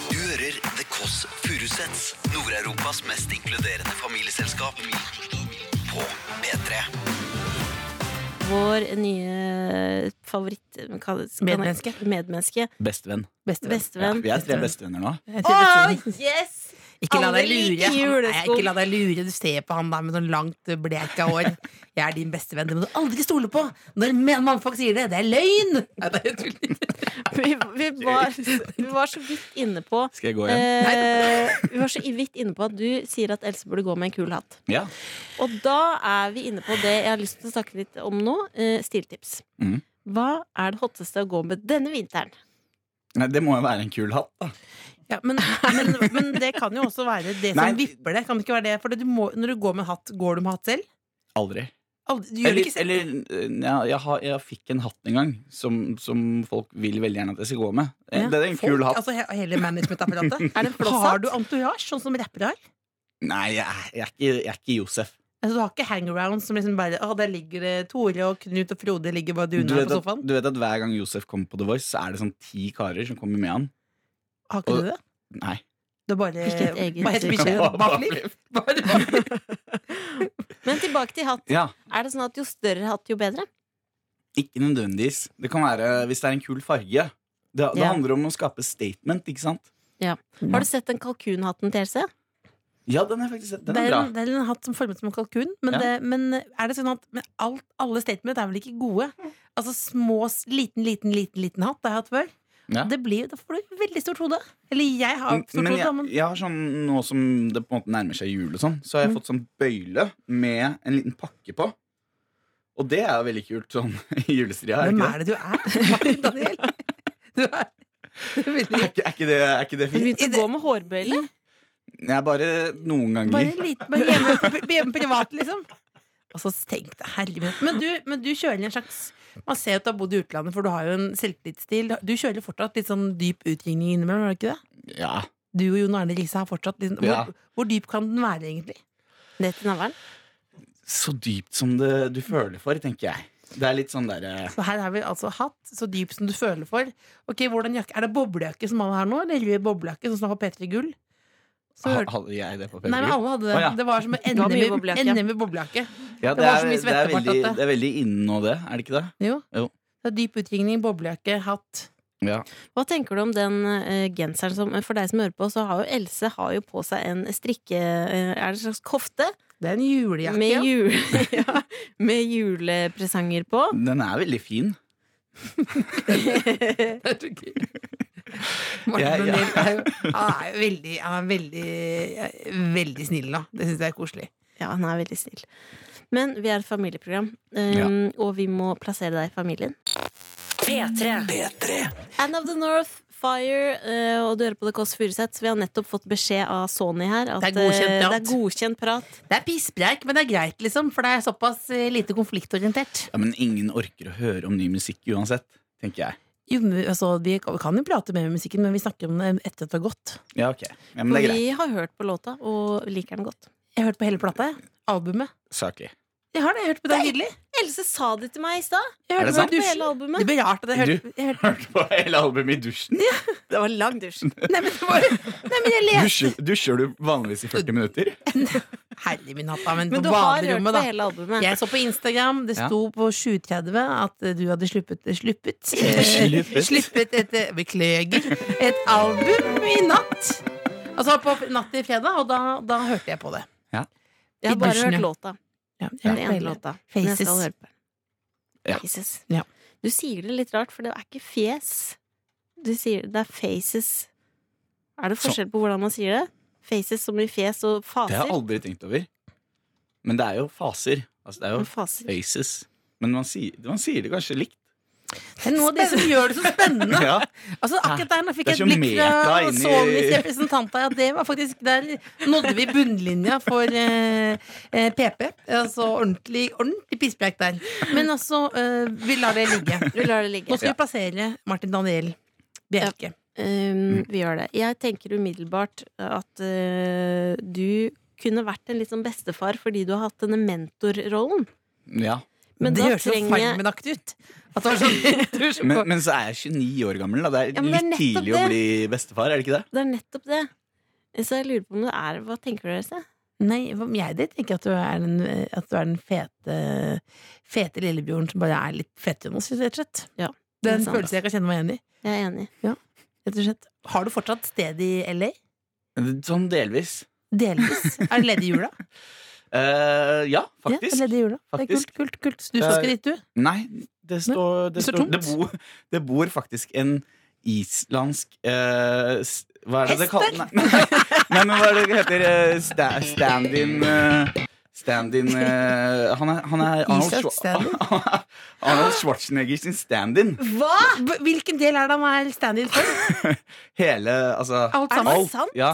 [SPEAKER 2] Du hører The Kåss Furuseths. Furusets. Nord-Europas mest inkluderende familieselskap. På P3.
[SPEAKER 3] Vår nye eh, favoritt hva kalles- kan jeg-
[SPEAKER 4] Medmenneske.
[SPEAKER 3] medmenneske.
[SPEAKER 1] Bestevenn.
[SPEAKER 4] Bestevenn.
[SPEAKER 3] Bestevenn.
[SPEAKER 1] Vi er tre
[SPEAKER 4] Bestevenn.
[SPEAKER 1] bestevenner nå.
[SPEAKER 4] Jeg
[SPEAKER 3] Å,
[SPEAKER 4] tror bestevenn.
[SPEAKER 3] yes!
[SPEAKER 4] Ikke la
[SPEAKER 3] Alle
[SPEAKER 4] deg lure.
[SPEAKER 3] liker
[SPEAKER 4] Han- Nei,
[SPEAKER 3] julesko.
[SPEAKER 4] ikke la deg lure. Du ser på han der med sånn langt, bleka hår. Jeg er din bestevenn. Det må du aldri stole på! Når men- mannfolk sier det, det er løgn! Nei, det er jo tull.
[SPEAKER 3] Vi, vi, var, vi var så vidt inne på
[SPEAKER 1] Skal jeg gå hjem?
[SPEAKER 3] eh, Vi var så vidt inne på at du sier at Else burde gå med en kul hatt.
[SPEAKER 1] Ja.
[SPEAKER 3] Og da er vi inne på det jeg har lyst til å snakke litt om nå. Eh, stiltips.
[SPEAKER 4] Mm.
[SPEAKER 1] Mhm.
[SPEAKER 3] Hva er det hotteste å gå med denne vinteren?
[SPEAKER 1] Nei, det må jo være en kul hatt, da.
[SPEAKER 4] Ja, men, men, men det kan jo også være det
[SPEAKER 1] Nei.
[SPEAKER 4] som vipper det. Kan det ikke være det? For det, du må, når du går med en hatt, går du med hatt selv?
[SPEAKER 1] Aldri.
[SPEAKER 4] Aldri, du gjør det
[SPEAKER 1] Eller,
[SPEAKER 4] ikke selv.
[SPEAKER 1] eller eh, ja, jeg, har, jeg fikk en hatt en gang som, som folk vil veldig gjerne at jeg skal gå med. Eh,
[SPEAKER 4] Ja.
[SPEAKER 1] Det er en
[SPEAKER 4] Folk,
[SPEAKER 1] kul hatt.
[SPEAKER 4] Altså, he- hele managementapparatet.
[SPEAKER 3] Er det en flosshatt?
[SPEAKER 4] Har du entourage, sånn som rappere har?
[SPEAKER 1] Nei, jeg, er- jeg, er ikke, jeg er ikke Josef.
[SPEAKER 4] Altså, du har ikke hangaround som liksom bare Å, der ligger det Tore og Knut og Frode ligger bare
[SPEAKER 1] Du
[SPEAKER 4] duna
[SPEAKER 1] vet,
[SPEAKER 4] på
[SPEAKER 1] at,
[SPEAKER 4] sofaen.
[SPEAKER 1] du vet at hver gang Josef kommer på The Voice, så er det sånn ti karer som kommer med han.
[SPEAKER 4] Har ikke du det?
[SPEAKER 1] Nei.
[SPEAKER 4] Det er bare
[SPEAKER 3] Ikke et eget
[SPEAKER 4] Hva heter bikkja? Baklip? Bare baklip.
[SPEAKER 3] Men tilbake til hatt.
[SPEAKER 1] Ja,
[SPEAKER 3] Er det sånn at jo større hatt, jo bedre?
[SPEAKER 1] Ikke nødvendigvis. Det kan være hvis det er en kul farge. Det, det
[SPEAKER 3] Ja.
[SPEAKER 1] handler om å skape statement, ikke sant?
[SPEAKER 3] Har du sett den kalkunhatten til Else?
[SPEAKER 1] Ja, den er faktisk den
[SPEAKER 4] det,
[SPEAKER 1] er
[SPEAKER 4] er
[SPEAKER 1] bra.
[SPEAKER 4] en, det er en hatt som formet som en kalkun, men,
[SPEAKER 1] Ja.
[SPEAKER 4] det, men er det sånn at men alt, alle statement er vel ikke gode? Altså små, s- liten, liten, liten liten hatt det har jeg hatt før.
[SPEAKER 1] Ja.
[SPEAKER 4] Det blir, da får du veldig stort hode. Eller jeg har stort
[SPEAKER 1] Men
[SPEAKER 4] hode, da,
[SPEAKER 1] jeg,
[SPEAKER 4] men
[SPEAKER 1] jeg har sånn, nå som det på en måte nærmer seg jul, og sånn så har
[SPEAKER 4] Mm.
[SPEAKER 1] jeg fått sånn bøyle med en liten pakke på. Og det er veldig kult sånn i julestria. Er,
[SPEAKER 4] hvem
[SPEAKER 1] ikke
[SPEAKER 4] er det du er? Daniel? Du er, du er
[SPEAKER 1] det?
[SPEAKER 4] veldig,
[SPEAKER 1] er, ikke, er, ikke det, er ikke det
[SPEAKER 3] Du
[SPEAKER 1] fint?
[SPEAKER 3] begynte å gå med hårbøyle.
[SPEAKER 1] Jeg er bare noen ganger
[SPEAKER 4] bare liten, bare hjemme, på- hjemme privat, liksom. Og så tenkte jeg, herregud men du, men du kjører en slags Man ser jo at du har bodd i utlandet, for du har jo en selvtillitsstil. Du kjører fortsatt litt sånn dyp utringning innimellom, gjør du ikke det?
[SPEAKER 1] Ja.
[SPEAKER 4] du og Jon Arne Riise har fortsatt liksom,
[SPEAKER 1] Ja.
[SPEAKER 4] hvor, hvor dyp kan den være, egentlig?
[SPEAKER 3] Ned til navlen.
[SPEAKER 1] Så dypt som det du føler for, tenker jeg. Det er litt sånn derre
[SPEAKER 4] Så her har vi altså hatt så dyp som du føler for. Ok, hvordan jakke, Er det boblejakke som alle har nå, eller rød boblejakke sånn som var på P3 Gull? Så hørte-
[SPEAKER 1] Hadde jeg det på
[SPEAKER 4] Nei, men
[SPEAKER 1] peppergull?
[SPEAKER 4] alle hadde det.
[SPEAKER 1] Å, ja.
[SPEAKER 4] Det var som en
[SPEAKER 3] var
[SPEAKER 4] NM
[SPEAKER 3] mye
[SPEAKER 4] i-
[SPEAKER 3] boblejakke.
[SPEAKER 4] NM i boblejakke.
[SPEAKER 1] Ja,
[SPEAKER 4] det
[SPEAKER 1] det,
[SPEAKER 4] var så
[SPEAKER 1] er-
[SPEAKER 4] mye
[SPEAKER 1] det er
[SPEAKER 4] svettepart
[SPEAKER 1] veldig-
[SPEAKER 4] at det-
[SPEAKER 1] det er veldig innen nå, det. Er det ikke det?
[SPEAKER 4] Jo.
[SPEAKER 1] Jo.
[SPEAKER 4] Så dyp utringning, boblejakke, hatt.
[SPEAKER 1] Ja.
[SPEAKER 3] Hva tenker du om den eh, genseren som For deg som hører på, så har jo Else har jo på seg en strikke... eh, er det en slags kofte?
[SPEAKER 4] Det er en julejakke.
[SPEAKER 3] med,
[SPEAKER 4] ja.
[SPEAKER 3] jule, ja, med julepresanger på.
[SPEAKER 1] Den er veldig fin.
[SPEAKER 4] Det er så gøy. Martin
[SPEAKER 1] Jeg- jeg-
[SPEAKER 4] Lundell er jo, han er jo veldig, han er veldig, veldig snill nå. Det syns jeg er koselig.
[SPEAKER 3] Ja, han er veldig snill. Men vi er et familieprogram, um, og vi må plassere deg i familien. End of the North, Fire, eh, og du hører på The Kåss Furuseth. Vi har nettopp fått beskjed av Sony her at
[SPEAKER 4] Det er godkjent
[SPEAKER 3] eh,
[SPEAKER 4] prat.
[SPEAKER 3] det er godkjent prat.
[SPEAKER 4] Det er pisspreik, men det er greit, liksom, for det er såpass eh, lite konfliktorientert.
[SPEAKER 1] Ja, men ingen orker å høre om ny musikk uansett, tenker jeg.
[SPEAKER 4] Jo, men, altså, vi kan- vi kan jo prate mer om musikken, men vi snakker om det etter at det har gått.
[SPEAKER 1] Ja, ok. Ja, men det er greit.
[SPEAKER 3] Vi har hørt på låta og liker den godt.
[SPEAKER 4] Jeg har hørt på hele plata, jeg. albumet.
[SPEAKER 1] Saki.
[SPEAKER 4] Jeg har det, jeg har hørt på det nydelig.
[SPEAKER 3] Else sa det til meg i stad.
[SPEAKER 4] Jeg
[SPEAKER 1] Er
[SPEAKER 4] hørte
[SPEAKER 1] det
[SPEAKER 4] på
[SPEAKER 1] sant?
[SPEAKER 4] det i
[SPEAKER 3] På hele
[SPEAKER 4] dusjen.
[SPEAKER 3] albumet.
[SPEAKER 4] Det ble rart at jeg hørte, jeg hørte
[SPEAKER 1] Hørte på hele albumet i dusjen.
[SPEAKER 3] Det var lang dusj.
[SPEAKER 4] Nei, men, det var, nei, men jeg leste
[SPEAKER 1] Dusjer, dusjer du vanligvis i 40 minutter?
[SPEAKER 4] Herlig min hatt, da, men,
[SPEAKER 3] Men
[SPEAKER 4] på
[SPEAKER 3] du har hørt
[SPEAKER 4] baderommet,
[SPEAKER 3] på
[SPEAKER 4] da.
[SPEAKER 3] hele albumet.
[SPEAKER 4] Jeg så på Instagram, det
[SPEAKER 1] Ja.
[SPEAKER 4] sto på 7.30 at eh, du hadde sluppet Sluppet,
[SPEAKER 1] Sluppet.
[SPEAKER 4] sluppet et eh, Beklager. Et album i natt. Altså på natt til fredag, og da, da hørte jeg på det.
[SPEAKER 3] Jeg har
[SPEAKER 4] I
[SPEAKER 3] bare
[SPEAKER 4] dusjen,
[SPEAKER 3] hørt
[SPEAKER 4] ja.
[SPEAKER 3] låta.
[SPEAKER 4] Ja, jeg
[SPEAKER 3] Den
[SPEAKER 4] hørte
[SPEAKER 3] ene
[SPEAKER 4] hele-
[SPEAKER 3] låta. Men
[SPEAKER 4] Faces.
[SPEAKER 3] jeg skal høre på den.
[SPEAKER 1] Ja.
[SPEAKER 3] Faces.
[SPEAKER 4] Ja.
[SPEAKER 3] Du sier det litt rart, for det er ikke fjes. Du sier det er faces. Er det forskjell på hvordan man sier det? Faces som i fjes og
[SPEAKER 1] Det har
[SPEAKER 3] faser.
[SPEAKER 1] jeg aldri tenkt over. Men det er jo faser. Altså, det er jo
[SPEAKER 3] Men faser.
[SPEAKER 1] faces. Men man sier, man sier det kanskje likt.
[SPEAKER 4] Det er noe av det som gjør det så spennende.
[SPEAKER 1] Ja.
[SPEAKER 4] Altså akkurat der nå fikk
[SPEAKER 1] Det
[SPEAKER 4] jeg et
[SPEAKER 1] er så
[SPEAKER 4] blikk fra
[SPEAKER 1] meta inni-
[SPEAKER 4] Sonys representant her, at det var faktisk Der nådde vi bunnlinja for eh, eh, PP. Altså ordentlig, ordentlig pisspreik der. Men altså, eh, vi lar det ligge.
[SPEAKER 3] Vi lar det ligge.
[SPEAKER 4] Nå skal vi plassere Martin Daniel Bjerke.
[SPEAKER 3] Um, vi gjør det. Jeg tenker umiddelbart at uh, du kunne vært en litt sånn bestefar fordi du har hatt denne mentorrollen.
[SPEAKER 1] ja.
[SPEAKER 3] Men
[SPEAKER 4] det
[SPEAKER 3] da
[SPEAKER 4] høres så
[SPEAKER 3] trenger jeg-
[SPEAKER 4] farmenaktig ut. At det var sånn du så
[SPEAKER 1] Men,
[SPEAKER 4] på-
[SPEAKER 1] men så er jeg 29 år gammel. Da. Det er
[SPEAKER 3] Ja, men det er
[SPEAKER 1] litt
[SPEAKER 3] nettopp
[SPEAKER 1] tidlig å
[SPEAKER 3] det.
[SPEAKER 1] bli bestefar, er det ikke det?
[SPEAKER 3] Det er nettopp det. Så jeg lurer på om det er Hva tenker dere? Else?
[SPEAKER 4] Nei, hva- jeg det tenker at du er den, eh, at du er den fete, fete lillebjørnen som bare er litt fettere enn oss, rett og slett.
[SPEAKER 3] Ja,
[SPEAKER 4] det er
[SPEAKER 3] det
[SPEAKER 4] en
[SPEAKER 3] er sant.
[SPEAKER 4] følelse jeg kan kjenne meg igjen i.
[SPEAKER 3] Jeg er enig.
[SPEAKER 4] Rett og slett. Har du fortsatt sted i LA?
[SPEAKER 1] Sånn delvis.
[SPEAKER 4] Delvis. Er du ledig i jula?
[SPEAKER 1] Eh, ja,
[SPEAKER 4] Ja,
[SPEAKER 1] faktisk.
[SPEAKER 4] er ledig i jula. Det er
[SPEAKER 1] Faktisk.
[SPEAKER 4] kult, kult, kult. Så Du skal
[SPEAKER 1] Eh,
[SPEAKER 4] dit, du?
[SPEAKER 1] Nei, det står Det,
[SPEAKER 4] det står
[SPEAKER 1] står, det,
[SPEAKER 4] tomt.
[SPEAKER 1] bor, det bor faktisk en islandsk eh, s- Hva er det det kalles? Nei, nei, men hva er det det heter? eh, sta, stand-in eh, Stand-in eh, han, er- han er Arnold,
[SPEAKER 4] Islandsk stand-in?
[SPEAKER 1] Schwar- Arnold Schwarzenegger sin stand-in.
[SPEAKER 4] Hva?! B- Hvilken del er det han er stand-in for?
[SPEAKER 1] Hele Altså
[SPEAKER 4] Alt sammen?
[SPEAKER 1] alt, Ja.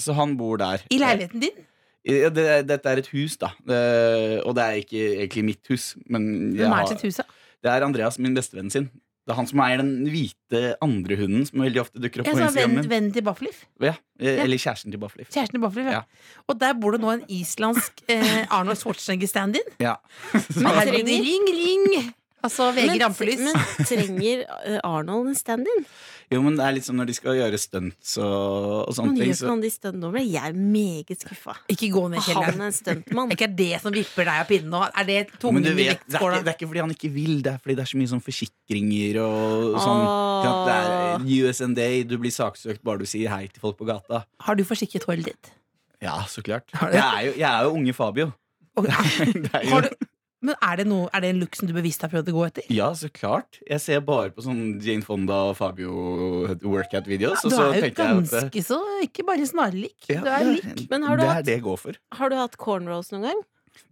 [SPEAKER 1] Så han bor der. Eh,
[SPEAKER 4] I leiligheten din?
[SPEAKER 1] Ja, det, dette er et hus, da. Eh, og det er ikke egentlig mitt hus. Men jeg
[SPEAKER 4] Hvem er
[SPEAKER 1] har,
[SPEAKER 4] sitt hus, da?
[SPEAKER 1] Det er Andreas, min bestevenn sin. Det er han som eier den hvite andre hunden som veldig ofte dukker opp
[SPEAKER 4] Jeg
[SPEAKER 1] på
[SPEAKER 4] sa vennen
[SPEAKER 1] Instagram.
[SPEAKER 4] vennen til Bafflif.
[SPEAKER 1] Ja, eh, eller kjæresten til Bafflif.
[SPEAKER 4] Kjæresten til Bafflif, ja.
[SPEAKER 1] Ja.
[SPEAKER 4] Og der bor det nå en islandsk eh, Arnold Schwarzenegger-stand-in.
[SPEAKER 1] Ja.
[SPEAKER 4] Men
[SPEAKER 3] Men
[SPEAKER 4] herregud,
[SPEAKER 3] trenger-
[SPEAKER 4] ring, ring! Altså VG rampelys.
[SPEAKER 3] men trenger eh, Arnold en stand-in?
[SPEAKER 1] Jo, men det er litt som når de skal gjøre stunts og, og
[SPEAKER 3] Han
[SPEAKER 1] sånne
[SPEAKER 3] gjør
[SPEAKER 1] ting.
[SPEAKER 3] ikke
[SPEAKER 1] Så.
[SPEAKER 3] noen av de stuntdommene. Jeg er meget skuffa.
[SPEAKER 4] Ikke gå ned i
[SPEAKER 3] Han
[SPEAKER 4] kjelleren.
[SPEAKER 3] er en stuntmann.
[SPEAKER 4] Er ikke det som vipper deg av pinnen nå? Er det
[SPEAKER 1] Men
[SPEAKER 4] tungen
[SPEAKER 1] du
[SPEAKER 4] i
[SPEAKER 1] vet, det er, ikke, det
[SPEAKER 4] vektskåla?
[SPEAKER 1] er ikke fordi han ikke vil, det er fordi det er så mye sånn forsikringer og sånn.
[SPEAKER 3] Åh.
[SPEAKER 1] Ja, Det er eh, USND, du blir saksøkt bare du sier hei til folk på gata.
[SPEAKER 4] Har du forsikret håret ditt?
[SPEAKER 1] Ja, så klart.
[SPEAKER 4] Har du?
[SPEAKER 1] Jeg er jo, jeg er jo unge Fabio.
[SPEAKER 4] Og-
[SPEAKER 1] Det er jo-
[SPEAKER 4] Har du, men er det, noe, er det en look som du bevisst har prøvd å gå etter?
[SPEAKER 1] Ja, så klart. Jeg ser bare på sånn Jane Fonda og Fabio workout-videoer.
[SPEAKER 4] du
[SPEAKER 1] så
[SPEAKER 4] er jo
[SPEAKER 1] tenker jeg at eh,
[SPEAKER 4] ganske så Ikke bare snarlik.
[SPEAKER 1] Ja,
[SPEAKER 4] Du er
[SPEAKER 1] det
[SPEAKER 4] lik.
[SPEAKER 1] er-
[SPEAKER 3] Men har du
[SPEAKER 1] det er
[SPEAKER 3] hatt-
[SPEAKER 1] det jeg går for.
[SPEAKER 3] Har du hatt cornrows noen gang?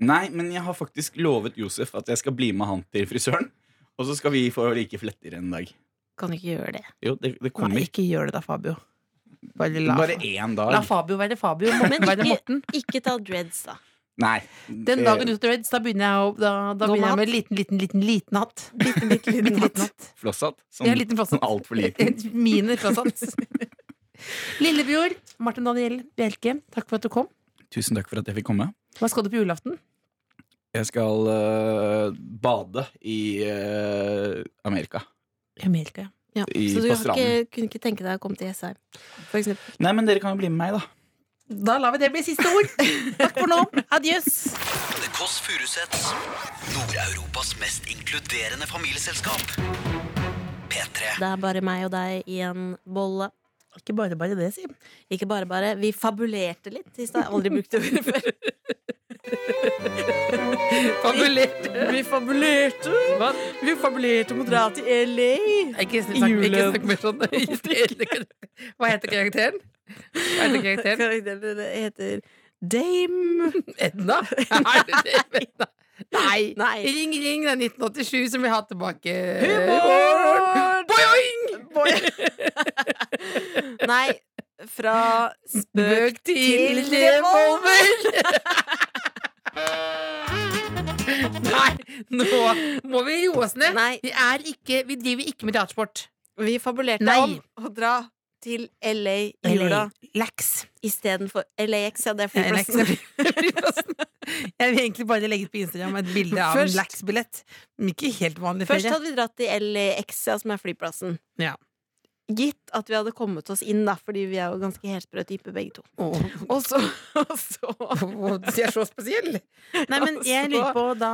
[SPEAKER 1] Nei, men jeg har faktisk lovet Josef at jeg skal bli med han til frisøren. Og så skal vi få like fletter en dag.
[SPEAKER 3] Kan du ikke gjøre det.
[SPEAKER 1] Jo, det, det kommer.
[SPEAKER 4] Nei, ikke gjør det da, Fabio. Bare la,
[SPEAKER 1] Bare én
[SPEAKER 4] la
[SPEAKER 1] dag.
[SPEAKER 4] Fabio være Fabio. Morten
[SPEAKER 3] Men ikke-
[SPEAKER 4] være Morten.
[SPEAKER 3] Ikke ta dreads, da.
[SPEAKER 1] Nei.
[SPEAKER 4] Den
[SPEAKER 1] det-
[SPEAKER 4] dagen du tar reds, da begynner jeg, å, da, da
[SPEAKER 3] Gå med
[SPEAKER 4] begynner jeg med liten, liten, liten, liten hatt. Liten,
[SPEAKER 3] liten hatt.
[SPEAKER 4] hatt.
[SPEAKER 1] Flosshatt. Sånn,
[SPEAKER 4] Ja, liten flosshatt.
[SPEAKER 1] sånn altfor liten.
[SPEAKER 4] Mine flosshatt. Lillebjord, Martin Daniel Bjelke, takk for at du kom.
[SPEAKER 1] Tusen takk for at jeg fikk komme.
[SPEAKER 4] Hva skal du på julaften?
[SPEAKER 1] Jeg skal øh, bade i øh, Amerika.
[SPEAKER 4] Amerika.
[SPEAKER 3] Ja.
[SPEAKER 1] I-
[SPEAKER 3] så du
[SPEAKER 1] på
[SPEAKER 3] har ikke, kunne ikke tenke deg å komme til Jessheim? For eksempel.
[SPEAKER 1] Nei, men dere kan jo bli med meg, da.
[SPEAKER 4] Da lar vi det bli siste ord. Takk for nå. Adjøs.
[SPEAKER 2] The Kåss Furuseths. Nord-Europas mest inkluderende familieselskap. P3.
[SPEAKER 3] Det er bare meg og deg i en bolle.
[SPEAKER 4] Ikke bare bare det, si.
[SPEAKER 3] Ikke bare bare. Vi fabulerte litt i stad. Aldri brukt det ordet før.
[SPEAKER 4] Fabulerte.
[SPEAKER 3] Vi fabulerte.
[SPEAKER 4] Hva?
[SPEAKER 3] Vi fabulerte om å dra til LA.
[SPEAKER 4] Ikke snakk, ikke
[SPEAKER 3] Julen.
[SPEAKER 4] snakk mer sånn. Hva heter karakteren? Hva heter karakteren?
[SPEAKER 3] Karakteren det heter Dame.
[SPEAKER 4] Edna? Er det det? Edna? Nei.
[SPEAKER 3] Nei.
[SPEAKER 4] Ring, ring, det er 1987 som vi har tilbake.
[SPEAKER 3] Humor!
[SPEAKER 4] Boing!
[SPEAKER 3] Nei, fra
[SPEAKER 4] Bøk
[SPEAKER 3] spøk
[SPEAKER 4] til
[SPEAKER 3] til
[SPEAKER 4] revolver! Nei, nå må vi roe oss ned.
[SPEAKER 3] Nei.
[SPEAKER 4] Vi, er ikke, vi driver ikke med teatersport.
[SPEAKER 3] Vi fabulerte
[SPEAKER 4] Nei.
[SPEAKER 3] om å dra til LA i jula
[SPEAKER 4] Lax.
[SPEAKER 3] istedenfor LAX. Ja, det er
[SPEAKER 4] Jeg
[SPEAKER 3] flyplassen.
[SPEAKER 4] vil egentlig bare legge ut på Instagram et bilde av
[SPEAKER 3] Først-
[SPEAKER 4] en Lax-billett. Men ikke helt vanlig
[SPEAKER 3] Først
[SPEAKER 4] ferie.
[SPEAKER 3] hadde vi dratt til LAX, ja, som er flyplassen.
[SPEAKER 4] Ja.
[SPEAKER 3] Gitt at vi hadde kommet oss inn, da, fordi vi er jo ganske helsprø type begge to.
[SPEAKER 4] Åh.
[SPEAKER 3] Og så, og så
[SPEAKER 4] De er så spesielle! Nei, men jeg lurer på da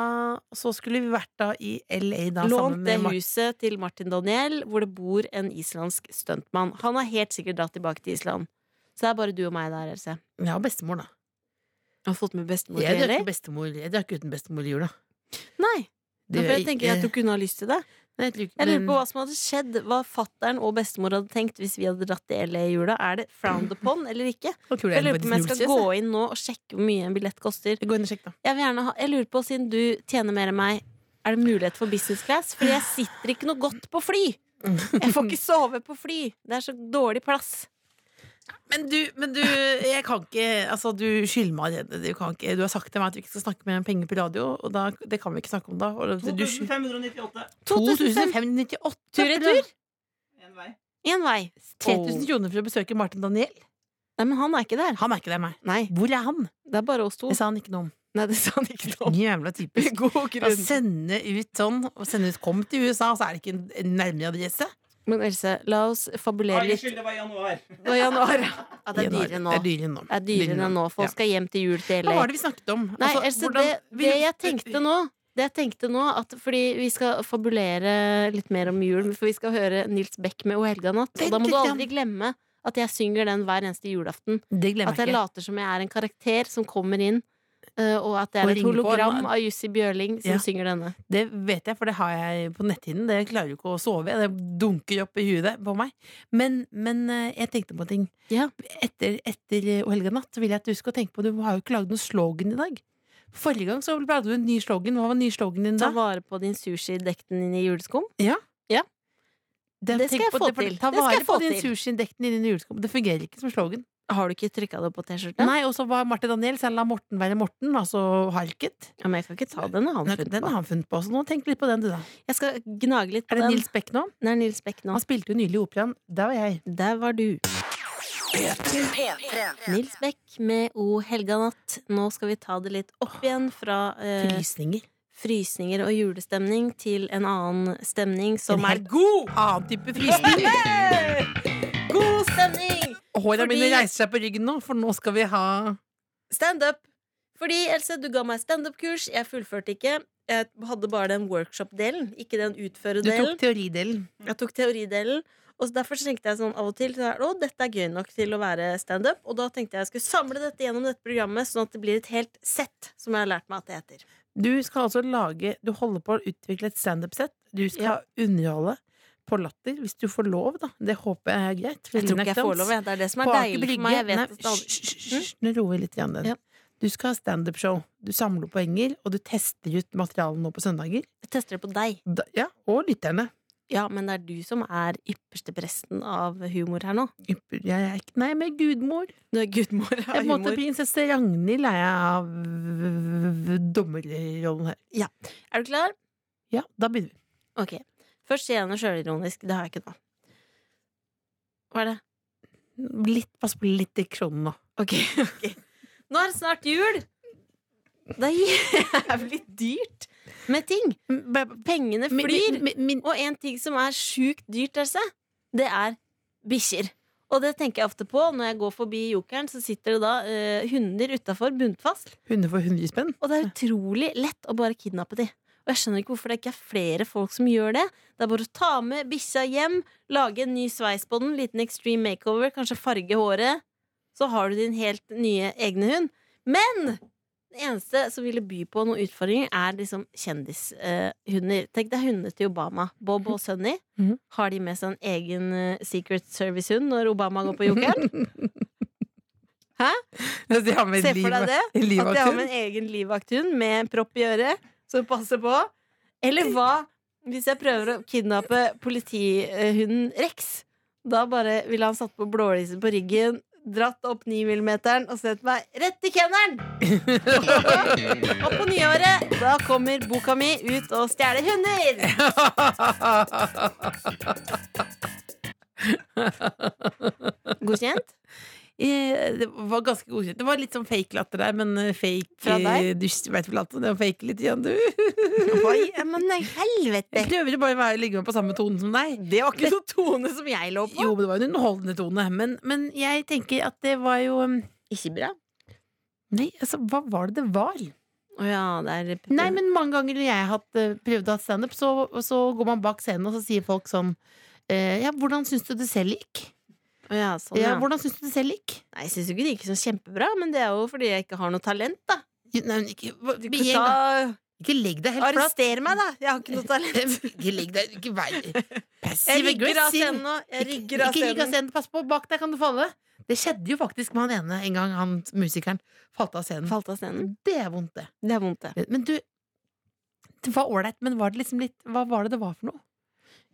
[SPEAKER 4] Så skulle vi vært da i LA da sammen
[SPEAKER 3] lånt det
[SPEAKER 4] med Martin.
[SPEAKER 3] huset til Martin Daniel, hvor det bor en islandsk stuntmann. Han har helt sikkert dratt tilbake til Island. Så det er bare du og meg der, Else.
[SPEAKER 4] Ja, bestemor, da.
[SPEAKER 3] Har du fått med bestemor
[SPEAKER 4] Jeg
[SPEAKER 3] til
[SPEAKER 4] drakk
[SPEAKER 3] LA?
[SPEAKER 4] ikke bestemor Jeg drakk uten bestemor i jula.
[SPEAKER 3] Nei.
[SPEAKER 4] Det
[SPEAKER 3] Nei,
[SPEAKER 4] gjør
[SPEAKER 3] for jeg
[SPEAKER 4] jeg
[SPEAKER 3] tenker
[SPEAKER 4] ikke.
[SPEAKER 3] at du kunne ha lyst til det.
[SPEAKER 4] Nei, jeg tror ikke-
[SPEAKER 3] Jeg lurer
[SPEAKER 4] men-
[SPEAKER 3] på hva som hadde skjedd, hva fattern og bestemor hadde tenkt hvis vi hadde dratt til LA i jula. Er det frowned upon eller ikke?
[SPEAKER 4] Jeg tror det er
[SPEAKER 3] Jeg lurer
[SPEAKER 4] bare
[SPEAKER 3] på om jeg skal
[SPEAKER 4] Truls,
[SPEAKER 3] gå
[SPEAKER 4] jeg.
[SPEAKER 3] inn nå og sjekke hvor mye en billett koster.
[SPEAKER 4] Gå inn og sjekk, da.
[SPEAKER 3] Jeg, vil gjerne ha, jeg lurer på, siden du tjener mer enn meg, er det mulighet for business class? For jeg sitter ikke noe godt på fly! Jeg får ikke sove på fly! Det er så dårlig plass.
[SPEAKER 4] Men du, men du jeg kan ikke Altså, du skylder meg allerede. Du, kan ikke, du har sagt til meg at vi ikke skal snakke mer om penger på radio, og da, det kan vi ikke snakke om da. Og du- du skyld-
[SPEAKER 1] 2598
[SPEAKER 4] 2598
[SPEAKER 3] Tur-retur?
[SPEAKER 1] én vei.
[SPEAKER 3] Én vei.
[SPEAKER 4] 3000 kroner for å besøke Martin Daniel.
[SPEAKER 3] Nei, men han er ikke der.
[SPEAKER 4] Han er ikke der, meg.
[SPEAKER 3] Nei,
[SPEAKER 4] Hvor er han?
[SPEAKER 3] det er bare oss to.
[SPEAKER 4] Det sa han ikke noe om.
[SPEAKER 3] Nei, det sa han ikke noe om.
[SPEAKER 4] Jævla typisk.
[SPEAKER 3] Med god
[SPEAKER 4] Å
[SPEAKER 3] grunn.
[SPEAKER 4] sende ut sånn, og sende ut 'kom til USA', og så er det ikke en- en nærmere adresse?
[SPEAKER 3] Men Else, la oss fabulere litt.
[SPEAKER 1] det var januar.
[SPEAKER 3] Det var januar. Ja, det er
[SPEAKER 4] Januar.
[SPEAKER 3] dyrere nå.
[SPEAKER 4] Det er dyrere nå.
[SPEAKER 3] Det er dyrere enn nå. Folk
[SPEAKER 4] Ja.
[SPEAKER 3] skal hjem til jul til
[SPEAKER 4] Hva
[SPEAKER 3] LA.
[SPEAKER 4] var det vi snakket om?
[SPEAKER 3] Nei,
[SPEAKER 4] Altså,
[SPEAKER 3] Else,
[SPEAKER 4] hvordan
[SPEAKER 3] det,
[SPEAKER 4] vil-
[SPEAKER 3] det jeg tenkte nå det jeg tenkte nå, at Fordi vi skal fabulere litt mer om jul, for vi skal høre Nils Beck med O helga natt. Og
[SPEAKER 4] Vent
[SPEAKER 3] da må du
[SPEAKER 4] litt grann.
[SPEAKER 3] aldri glemme at jeg synger den hver eneste julaften.
[SPEAKER 4] Det
[SPEAKER 3] At
[SPEAKER 4] glemmer
[SPEAKER 3] jeg
[SPEAKER 4] jeg ikke.
[SPEAKER 3] later som jeg er en karakter som kommer inn, eh, og at det er
[SPEAKER 4] Og
[SPEAKER 3] et
[SPEAKER 4] ringer på,
[SPEAKER 3] hologram
[SPEAKER 4] eller-
[SPEAKER 3] av Jussi Bjørling som
[SPEAKER 4] Ja.
[SPEAKER 3] synger denne.
[SPEAKER 4] Det vet jeg, for det har jeg på netthinnen. Det klarer jo ikke å sove. Det dunker opp i huet på meg. Men, men eh, jeg tenkte på en ting.
[SPEAKER 3] Ja.
[SPEAKER 4] Etter, etter eh, O helga natt vil jeg at du skal tenke på Du har jo ikke lagd noen slogan i dag. Forrige gang så lagde du en ny slogan. Hva var ny slogan din
[SPEAKER 3] Ta
[SPEAKER 4] da?
[SPEAKER 3] vare på din sushi, dekk den inn i juleskum. det skal
[SPEAKER 4] tenk
[SPEAKER 3] jeg
[SPEAKER 4] på-
[SPEAKER 3] få
[SPEAKER 4] for-
[SPEAKER 3] til.
[SPEAKER 4] Ta
[SPEAKER 3] Det skal
[SPEAKER 4] vare
[SPEAKER 3] jeg
[SPEAKER 4] på
[SPEAKER 3] få
[SPEAKER 4] din
[SPEAKER 3] til.
[SPEAKER 4] sushindekten i din juleskum. Det fungerer ikke som slogan.
[SPEAKER 3] Har du ikke trykka det på T-skjorta?
[SPEAKER 4] Nei, og så var Martin Daniel, så jeg la Morten være Morten, altså Harket.
[SPEAKER 3] Ja, men jeg kan ikke ta den. har Han
[SPEAKER 4] Nei,
[SPEAKER 3] funnet
[SPEAKER 4] Den har han funnet på, så nå tenk litt på den, du, da.
[SPEAKER 3] på. Jeg skal gnage litt på
[SPEAKER 4] Er
[SPEAKER 3] den.
[SPEAKER 4] det Nils Beck nå?
[SPEAKER 3] Det er Nils Beck nå.
[SPEAKER 4] Han spilte jo nylig i operaen. Der var jeg. Eh,
[SPEAKER 3] Der var du. Nils Beck med O helga natt. Nå skal vi ta det litt opp igjen fra eh,
[SPEAKER 4] Frysninger.
[SPEAKER 3] frysninger og julestemning til en annen stemning som
[SPEAKER 4] En
[SPEAKER 3] er
[SPEAKER 4] helt god annen type frysning.
[SPEAKER 3] god stemning!
[SPEAKER 4] Håra
[SPEAKER 3] Fordi-
[SPEAKER 4] mine reiser seg på ryggen nå, for nå skal vi ha
[SPEAKER 3] Standup! Fordi, Else, du ga meg standup-kurs. Jeg fullførte ikke. Jeg hadde bare den workshop-delen, ikke den
[SPEAKER 4] Du tok
[SPEAKER 3] utføre-delen.
[SPEAKER 4] teoridelen.
[SPEAKER 3] Jeg tok teoridelen. Og så derfor så tenkte jeg sånn av og til så er det, Å, dette er gøy nok til å være standup. Og da tenkte jeg jeg skulle samle dette gjennom dette programmet, sånn at det blir et helt sett, som jeg har lært meg at det heter.
[SPEAKER 4] Du skal altså lage Du holder på å utvikle et standup-sett. Du skal
[SPEAKER 3] Ja.
[SPEAKER 4] underholde på latter, hvis du får lov, da. Det håper jeg er greit.
[SPEAKER 3] Jeg tror ikke jeg får lov, jeg. Det er det som er
[SPEAKER 4] På Aker
[SPEAKER 3] deilig
[SPEAKER 4] Brygge.
[SPEAKER 3] for meg. Jeg vet
[SPEAKER 4] Nei,
[SPEAKER 3] at det aldri-
[SPEAKER 4] hysj, hysj, hysj, Nå roer vi litt igjen den.
[SPEAKER 3] Ja.
[SPEAKER 4] Du skal ha standup-show. Du samler poenger, og du tester ut materialet nå på søndager.
[SPEAKER 3] Jeg tester det på deg.
[SPEAKER 4] Da, ja, og lytterne.
[SPEAKER 3] Ja, men det er du som er ypperste presten av humor her nå.
[SPEAKER 4] Ypper- Jeg er ikke Nei, men gudmor.
[SPEAKER 3] Du er gudmor
[SPEAKER 4] Jeg
[SPEAKER 3] av
[SPEAKER 4] er på en måte
[SPEAKER 3] humor.
[SPEAKER 4] prinsesse Ragnhild er jeg av dommerrollen her.
[SPEAKER 3] Er du klar?
[SPEAKER 4] Ja, da begynner vi.
[SPEAKER 3] Ok. Først sier jeg noe sjølironisk. Det har jeg ikke nå. Hva er det?
[SPEAKER 4] Litt, pass på litt diksjonen nå.
[SPEAKER 3] Ok. ok. Nå er det snart jul! Det er jævlig dyrt med ting. Pengene
[SPEAKER 4] Min-
[SPEAKER 3] flyr.
[SPEAKER 4] min- min-
[SPEAKER 3] Og en ting som er sjukt dyrt, Else, det er bikkjer. Og det tenker jeg ofte på når jeg går forbi Jokeren, så sitter det da eh, hunder utafor buntfast.
[SPEAKER 4] Hunder for 100 spenn.
[SPEAKER 3] Og det er utrolig lett å bare kidnappe de. Og jeg skjønner ikke hvorfor det ikke er flere folk som gjør det. Det er bare å ta med bikkja hjem, lage en ny sveis på den, liten extreme makeover, kanskje farge håret. Så har du din helt nye egne hund. Men den eneste som ville by på noen utfordringer, er liksom kjendishunder. Tenk deg hundene til Obama. Bob og Sunny.
[SPEAKER 4] Mhm.
[SPEAKER 3] Har de med seg en egen eh, Secret Service-hund når Obama går på jokeren? Hæ?
[SPEAKER 4] De har med
[SPEAKER 3] Se for deg det.
[SPEAKER 4] en
[SPEAKER 3] At de har med en egen livvakthund med en propp i øret som passer på. Eller hva hvis jeg prøver å kidnappe politihunden Rex? Da bare ville han satt på blålyset på ryggen, dratt opp 9 millimeteren og sett meg rett i kennelen! og på nyåret, da kommer boka mi ut og stjeler hunder! Godkjent?
[SPEAKER 4] Eh, Det var ganske godkjent. Det var litt sånn fake latter der, men eh, fake
[SPEAKER 3] Fra deg?
[SPEAKER 4] eh, Du vet vel at det er fake litt igjen, du.
[SPEAKER 3] Oi, men helvete!
[SPEAKER 4] Jeg prøver å bare være, ligge meg på samme tone som deg.
[SPEAKER 3] Det var ikke noen tone som jeg lå på.
[SPEAKER 4] Jo, men det var en underholdende tone. Men, men jeg tenker at det var jo um,
[SPEAKER 3] Ikke bra.
[SPEAKER 4] Nei, altså, hva var det det var?
[SPEAKER 3] Å ja, det er
[SPEAKER 4] Nei, men mange ganger når jeg har hatt, eh, prøvd å ha standup, så, så går man bak scenen, og så sier folk sånn eh, Ja, hvordan syns du det selv gikk?
[SPEAKER 3] Å ja, sånn, ja.
[SPEAKER 4] Ja, hvordan syns du det selv gikk?
[SPEAKER 3] Nei, jeg syns jo ikke det gikk så kjempebra, men det er jo fordi jeg ikke har noe talent, da.
[SPEAKER 4] Jo, Nei, men ikke, hva-
[SPEAKER 3] Du
[SPEAKER 4] igjen,
[SPEAKER 3] kan
[SPEAKER 4] da.
[SPEAKER 3] ta
[SPEAKER 4] ikke legg deg helt flat.
[SPEAKER 3] Arrester meg, da! Jeg har ikke noe talent.
[SPEAKER 4] Ikke legg deg Ikke vær
[SPEAKER 3] Jeg
[SPEAKER 4] passiv
[SPEAKER 3] rigger av
[SPEAKER 4] aggressiv.
[SPEAKER 3] scenen nå. Jeg
[SPEAKER 4] Ikke
[SPEAKER 3] rigger av
[SPEAKER 4] ikke rigg av
[SPEAKER 3] scenen.
[SPEAKER 4] scenen. Pass på, bak deg kan du falle. Det skjedde jo faktisk med han ene en gang, han musikeren falt av scenen.
[SPEAKER 3] Falt av scenen.
[SPEAKER 4] Det er vondt, det.
[SPEAKER 3] Det er vondt, det.
[SPEAKER 4] Men du Det var ålreit, men var det liksom litt Hva var det det var for noe?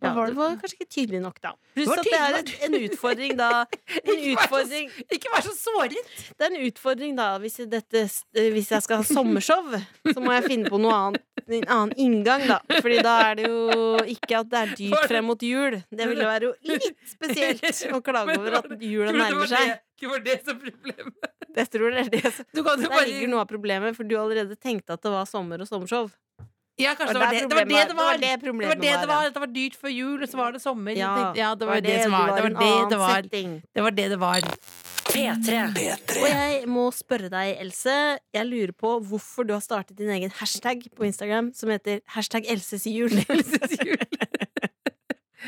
[SPEAKER 4] Hva
[SPEAKER 3] Ja,
[SPEAKER 4] var
[SPEAKER 3] det
[SPEAKER 4] det-
[SPEAKER 3] var kanskje ikke tydelig nok, da. Pluss
[SPEAKER 4] var
[SPEAKER 3] at det er
[SPEAKER 4] tydelig
[SPEAKER 3] et- en utfordring, da. En
[SPEAKER 4] Ikke vær så-
[SPEAKER 3] utfordring
[SPEAKER 4] Ikke vær så såret!
[SPEAKER 3] Det er en utfordring, da. Hvis, jeg- dette, eh, hvis jeg skal ha sommershow, så må jeg finne på noe annet. En annen inngang, da. Fordi da er det jo ikke at det er dyrt frem mot jul. Det ville være jo litt spesielt å klage over at jula nærmer seg.
[SPEAKER 4] Det var det som problemet.
[SPEAKER 3] Jeg tror det er det som
[SPEAKER 4] Du kan jo
[SPEAKER 3] Der
[SPEAKER 4] bare
[SPEAKER 3] ligger noe av problemet, for du har allerede tenkte at det var sommer og sommershow.
[SPEAKER 4] Ja, kanskje
[SPEAKER 3] Og
[SPEAKER 4] det var
[SPEAKER 3] det
[SPEAKER 4] det
[SPEAKER 3] er
[SPEAKER 4] det var. Det
[SPEAKER 3] problemet- det var
[SPEAKER 4] det var.
[SPEAKER 3] det
[SPEAKER 4] Det
[SPEAKER 3] problemet
[SPEAKER 4] var det det
[SPEAKER 3] var,
[SPEAKER 4] var.
[SPEAKER 3] ja.
[SPEAKER 4] At det var dyrt før jul, og så var det sommer.
[SPEAKER 3] Ja,
[SPEAKER 4] ja det var det som var. Det var
[SPEAKER 3] en
[SPEAKER 4] det
[SPEAKER 3] annen
[SPEAKER 4] det var.
[SPEAKER 3] setting.
[SPEAKER 4] Det var det det var.
[SPEAKER 6] P3.
[SPEAKER 3] Og jeg må spørre deg, Else. Jeg lurer på hvorfor du har startet din egen hashtag på Instagram som heter hashtag Elses jul.
[SPEAKER 4] Elses jul.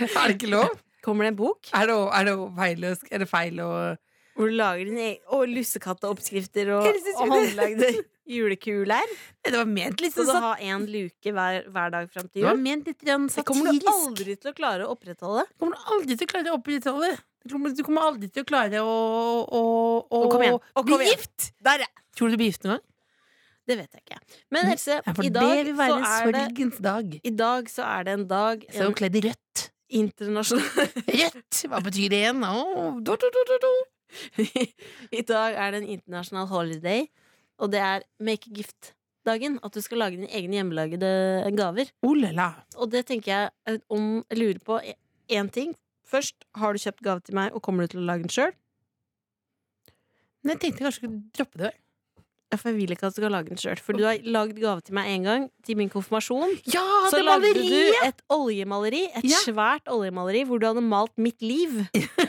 [SPEAKER 4] Er det ikke lov?
[SPEAKER 3] Kommer det en bok
[SPEAKER 4] Er det, er det feil, å- er det feil å
[SPEAKER 3] hvor du lager din egen Og lussekatteoppskrifter og,
[SPEAKER 4] Elses
[SPEAKER 3] og
[SPEAKER 4] jul.
[SPEAKER 3] håndlagde julekuler?
[SPEAKER 4] Det var ment litt
[SPEAKER 3] Skal du
[SPEAKER 4] sånn sat-
[SPEAKER 3] ha én luke hver, hver dag fram til
[SPEAKER 4] Det var
[SPEAKER 3] jul?
[SPEAKER 4] ment litt grann
[SPEAKER 3] Det kommer
[SPEAKER 4] satirisk.
[SPEAKER 3] du aldri til å klare å opprettholde.
[SPEAKER 4] Du kommer aldri til å klare å opprettholde. Du kommer, du kommer aldri til å klare å, å, å
[SPEAKER 3] Og kom igjen, og kom
[SPEAKER 4] bli
[SPEAKER 3] igjen.
[SPEAKER 4] gift!
[SPEAKER 3] Der, ja.
[SPEAKER 4] Tror du du blir gift noen gang?
[SPEAKER 3] Det vet jeg ikke. Men Else,
[SPEAKER 4] Mm. Ja, for
[SPEAKER 3] i dag
[SPEAKER 4] det vil være en
[SPEAKER 3] så er det
[SPEAKER 4] sorgens dag.
[SPEAKER 3] i dag så er det en dag
[SPEAKER 4] Så er
[SPEAKER 3] en
[SPEAKER 4] hun kledd i rødt.
[SPEAKER 3] internasjonal
[SPEAKER 4] Rødt! Hva betyr det igjen? Å, do, do, do, do, do.
[SPEAKER 3] I dag er det en internasjonal holiday, og det er make a gift-dagen. At du skal lage dine egne hjemmelagede gaver.
[SPEAKER 4] Oh la la.
[SPEAKER 3] Og det tenker jeg eh, om Jeg lurer på én ting. Først, har du kjøpt gave til meg, og kommer du til å lage den sjøl?
[SPEAKER 4] Men jeg tenkte kanskje jeg skulle droppe det.
[SPEAKER 3] Ja, for jeg vil ikke at du skal lage den sjøl. For du har lagd gave til meg én gang, til min konfirmasjon.
[SPEAKER 4] Ja,
[SPEAKER 3] Så
[SPEAKER 4] Ah, det
[SPEAKER 3] lagde
[SPEAKER 4] maleriet!
[SPEAKER 3] du et oljemaleri, et
[SPEAKER 4] Ja.
[SPEAKER 3] svært oljemaleri, hvor du hadde malt mitt liv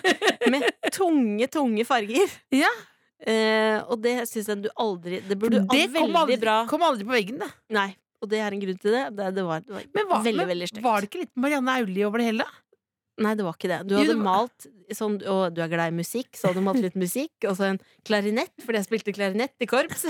[SPEAKER 3] med tunge, tunge farger.
[SPEAKER 4] Ja.
[SPEAKER 3] Eh, og det syns jeg du aldri Det burde du
[SPEAKER 4] Det
[SPEAKER 3] al-
[SPEAKER 4] kom
[SPEAKER 3] veldig
[SPEAKER 4] aldri,
[SPEAKER 3] bra
[SPEAKER 4] kom aldri på veggen, det.
[SPEAKER 3] Nei, og det er en grunn til det. Det, det var, det var
[SPEAKER 4] Men, hva,
[SPEAKER 3] veldig,
[SPEAKER 4] men
[SPEAKER 3] veldig stygt.
[SPEAKER 4] var det ikke litt Marianne Aulie over det hele? da?
[SPEAKER 3] Nei, det var ikke det. Du
[SPEAKER 4] Jo,
[SPEAKER 3] hadde
[SPEAKER 4] det var-
[SPEAKER 3] malt sånn Og du er glad i musikk, så hadde du malt litt musikk. Og så en klarinett, fordi jeg spilte klarinett i korps.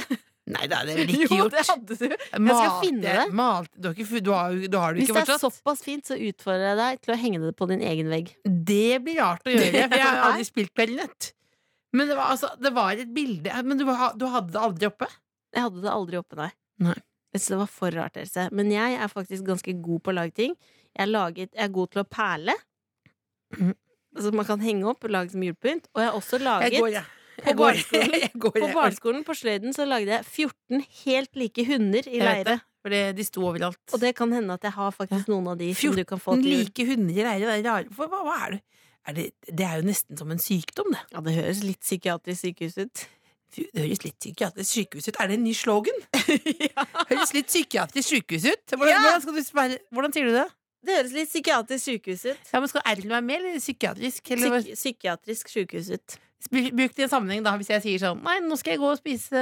[SPEAKER 4] Nei, det hadde jeg vel ikke
[SPEAKER 3] jo,
[SPEAKER 4] gjort.
[SPEAKER 3] det hadde du.
[SPEAKER 4] Malte-
[SPEAKER 3] finne det.
[SPEAKER 4] Malte, du, har ikke, fu- du, har, jo- du har det jo
[SPEAKER 3] Hvis
[SPEAKER 4] ikke
[SPEAKER 3] det er
[SPEAKER 4] fortsatt.
[SPEAKER 3] såpass fint, så utfordrer jeg deg til å henge det på din egen vegg.
[SPEAKER 4] Det blir rart å gjøre, for jeg har
[SPEAKER 3] Nei.
[SPEAKER 4] aldri spilt klarinett. Men det var, altså, det var et bilde Men du, ha- du hadde det aldri oppe?
[SPEAKER 3] Jeg hadde det aldri oppe, nei.
[SPEAKER 4] Nei.
[SPEAKER 3] Jeg synes det var for rart, Else. Men jeg er faktisk ganske god på å lage ting. Jeg er, laget, jeg er god til å perle.
[SPEAKER 4] Mhm.
[SPEAKER 3] Altså man kan henge opp og lage som julepynt. Og jeg har også laget
[SPEAKER 4] Jeg går, jeg.
[SPEAKER 3] på
[SPEAKER 4] Jeg går,
[SPEAKER 3] barneskolen.
[SPEAKER 4] jeg. går,
[SPEAKER 3] På
[SPEAKER 4] jeg.
[SPEAKER 3] barneskolen på Sløyden så lagde jeg 14 helt like hunder i
[SPEAKER 4] Jeg vet
[SPEAKER 3] leire.
[SPEAKER 4] det, for det- de sto overalt.
[SPEAKER 3] Og det kan hende at jeg har faktisk noen av de som du kan få til jul.
[SPEAKER 4] like hunder i leire, det er rare for, hva, hva er det? Er det? Det er jo nesten som en sykdom, det.
[SPEAKER 3] Ja, det høres litt psykiatrisk sykehus ut.
[SPEAKER 4] Fy, Det høres litt psykiatrisk sykehus ut. Er det en ny slogan? Høres litt psykiatrisk sykehus ut. Hvordan,
[SPEAKER 3] Ja.
[SPEAKER 4] hvordan, skal du, sperre- hvordan sier du det?
[SPEAKER 3] Det høres litt psykiatrisk sykehus ut.
[SPEAKER 4] Ja, men Skal R-en være med, eller psykiatrisk? Eller, hva-
[SPEAKER 3] Psyk psykiatrisk sykehus ut.
[SPEAKER 4] Bru- Bruk det i en sammenheng, da, hvis jeg sier sånn Nei, nå skal jeg gå og spise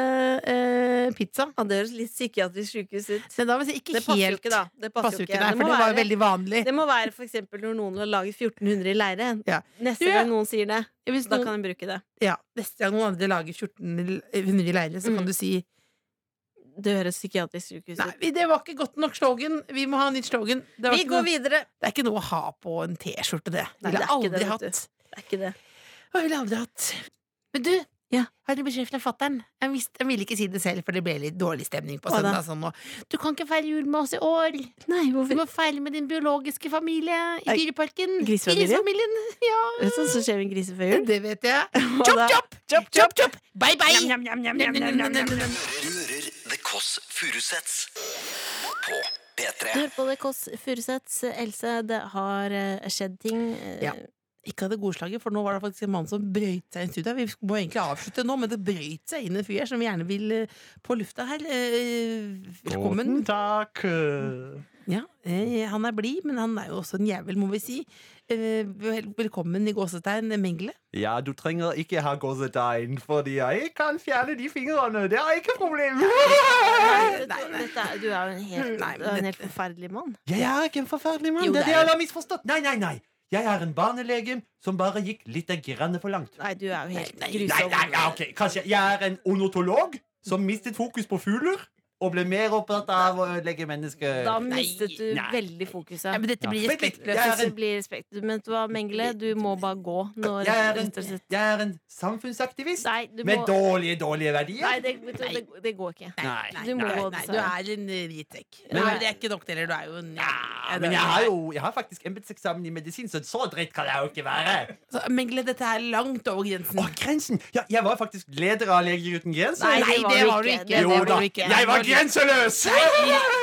[SPEAKER 4] eh, pizza.
[SPEAKER 3] Ja, det høres litt psykiatrisk sykehus ut.
[SPEAKER 4] Men da vil jeg si ikke
[SPEAKER 3] Det passer jo
[SPEAKER 4] helt
[SPEAKER 3] ikke, da. Det passer, jo ikke.
[SPEAKER 4] nei,
[SPEAKER 3] Det
[SPEAKER 4] for
[SPEAKER 3] må
[SPEAKER 4] det var jo
[SPEAKER 3] være-
[SPEAKER 4] veldig vanlig.
[SPEAKER 3] Det må være for eksempel når noen har laget 1400 i leire.
[SPEAKER 4] Ja.
[SPEAKER 3] Neste
[SPEAKER 4] Du, ja.
[SPEAKER 3] gang noen sier det,
[SPEAKER 4] Hvis
[SPEAKER 3] da
[SPEAKER 4] noen-
[SPEAKER 3] kan en bruke det.
[SPEAKER 4] ja, neste gang noen andre lager 1400 i leire, så
[SPEAKER 3] Mm.
[SPEAKER 4] kan du si
[SPEAKER 3] Det høres psykiatrisk sykehus ut.
[SPEAKER 4] Nei, det var ikke godt nok slogan. Vi må ha en nytt slogan. Det, var
[SPEAKER 3] Vi
[SPEAKER 4] ikke
[SPEAKER 3] går
[SPEAKER 4] noe,
[SPEAKER 3] videre!
[SPEAKER 4] det er ikke noe å ha på en T-skjorte, det.
[SPEAKER 3] Nei, det
[SPEAKER 4] Ville jeg
[SPEAKER 3] er ikke
[SPEAKER 4] aldri
[SPEAKER 3] det, vet
[SPEAKER 4] hatt.
[SPEAKER 3] du. Det er ikke det.
[SPEAKER 4] Jeg ville aldri hatt. Men du,
[SPEAKER 3] Ja.
[SPEAKER 4] har du beskjed fra fatter'n? Jeg, visste- jeg ville ikke si det selv, for det ble litt dårlig stemning på
[SPEAKER 3] Hva da?
[SPEAKER 4] søndag. Sånn, og, du kan ikke feire jul med oss i år.
[SPEAKER 3] Nei,
[SPEAKER 4] Du
[SPEAKER 3] hvorfor
[SPEAKER 4] må feire med din biologiske familie i
[SPEAKER 3] Nei,
[SPEAKER 4] dyreparken.
[SPEAKER 3] grisefamilien?
[SPEAKER 4] Grisefamilien, Ja.
[SPEAKER 3] Er det sånn som skjer med en grise før jul?
[SPEAKER 4] Det vet jeg.
[SPEAKER 3] Hva
[SPEAKER 4] Chop,
[SPEAKER 3] da?
[SPEAKER 4] chop! Chop, chop, chop! Bye, bye!
[SPEAKER 2] Du hører The Kåss Furuseths på
[SPEAKER 3] Du
[SPEAKER 2] P3.
[SPEAKER 3] hører på det, Kåss Furuseths. Else, det har eh, skjedd ting. eh,
[SPEAKER 4] Ja. Ikke hadde godslaget, for nå var det faktisk en mann som brøyt seg inn i studio. Vi må egentlig avslutte nå, men det brøyt seg inn en fyr her som gjerne vil eh, på lufta her. Eh, Velkommen.
[SPEAKER 7] takk.
[SPEAKER 4] Ja, eh, han er blid, men han er jo også en jævel, må vi si. Eh, vel, velkommen i gåsetegn, Mengele.
[SPEAKER 7] Ja, du trenger ikke ha gåsetegn, fordi jeg kan fjerne de fingrene. Det er ikke problem.
[SPEAKER 3] Nei, dette er- Du er jo en helt,
[SPEAKER 4] Nei, men
[SPEAKER 3] du er en helt
[SPEAKER 4] dette-
[SPEAKER 3] forferdelig mann.
[SPEAKER 7] Jeg er ikke en forferdelig mann.
[SPEAKER 4] Jo, det
[SPEAKER 7] det er
[SPEAKER 4] er
[SPEAKER 7] det alle har misforstått. Nei, nei, nei. Jeg er en barnelege som bare gikk litt grann for langt.
[SPEAKER 3] Nei, du er jo helt
[SPEAKER 7] Nei,
[SPEAKER 3] grusom.
[SPEAKER 7] nei, ja, ok. Kanskje jeg er en onotolog som mistet fokus på fugler og ble mer opptatt av å legge mennesker
[SPEAKER 3] Da mistet du
[SPEAKER 7] nei.
[SPEAKER 3] veldig
[SPEAKER 4] Ja,
[SPEAKER 3] fokuset.
[SPEAKER 4] men dette
[SPEAKER 7] Ja.
[SPEAKER 4] blir
[SPEAKER 7] Vent litt,
[SPEAKER 4] respektløst.
[SPEAKER 7] jeg er
[SPEAKER 3] Det
[SPEAKER 7] en-
[SPEAKER 3] blir respekt. Men vet du hva, Mengele, du må bare gå. Nå,
[SPEAKER 7] Jeg er
[SPEAKER 3] rett
[SPEAKER 7] en,
[SPEAKER 3] og slett.
[SPEAKER 7] jeg er en samfunnsaktivist
[SPEAKER 3] Nei, du
[SPEAKER 7] med
[SPEAKER 3] må
[SPEAKER 7] dårlige, dårlige verdier.
[SPEAKER 3] Nei, det, vet du, det, det går ikke.
[SPEAKER 7] Nei,
[SPEAKER 3] du må gå,
[SPEAKER 4] Nei, du
[SPEAKER 3] dessverre.
[SPEAKER 4] er en eh, hvitsekk.
[SPEAKER 7] Men-
[SPEAKER 4] Nei, det er ikke nok, deler. Du er jo en
[SPEAKER 7] Ja, men jeg har jo jeg har faktisk embetseksamen i medisin, så så dritt kan jeg jo ikke være.
[SPEAKER 4] Så, Mengele, dette er langt over grensen.
[SPEAKER 7] Å, grensen! Ja, jeg var faktisk leder av Leger uten grenser.
[SPEAKER 3] Nei, det var du ikke. Det-
[SPEAKER 4] Det
[SPEAKER 7] jo
[SPEAKER 4] var
[SPEAKER 7] da,
[SPEAKER 4] du ikke.
[SPEAKER 7] jeg var grenseløs!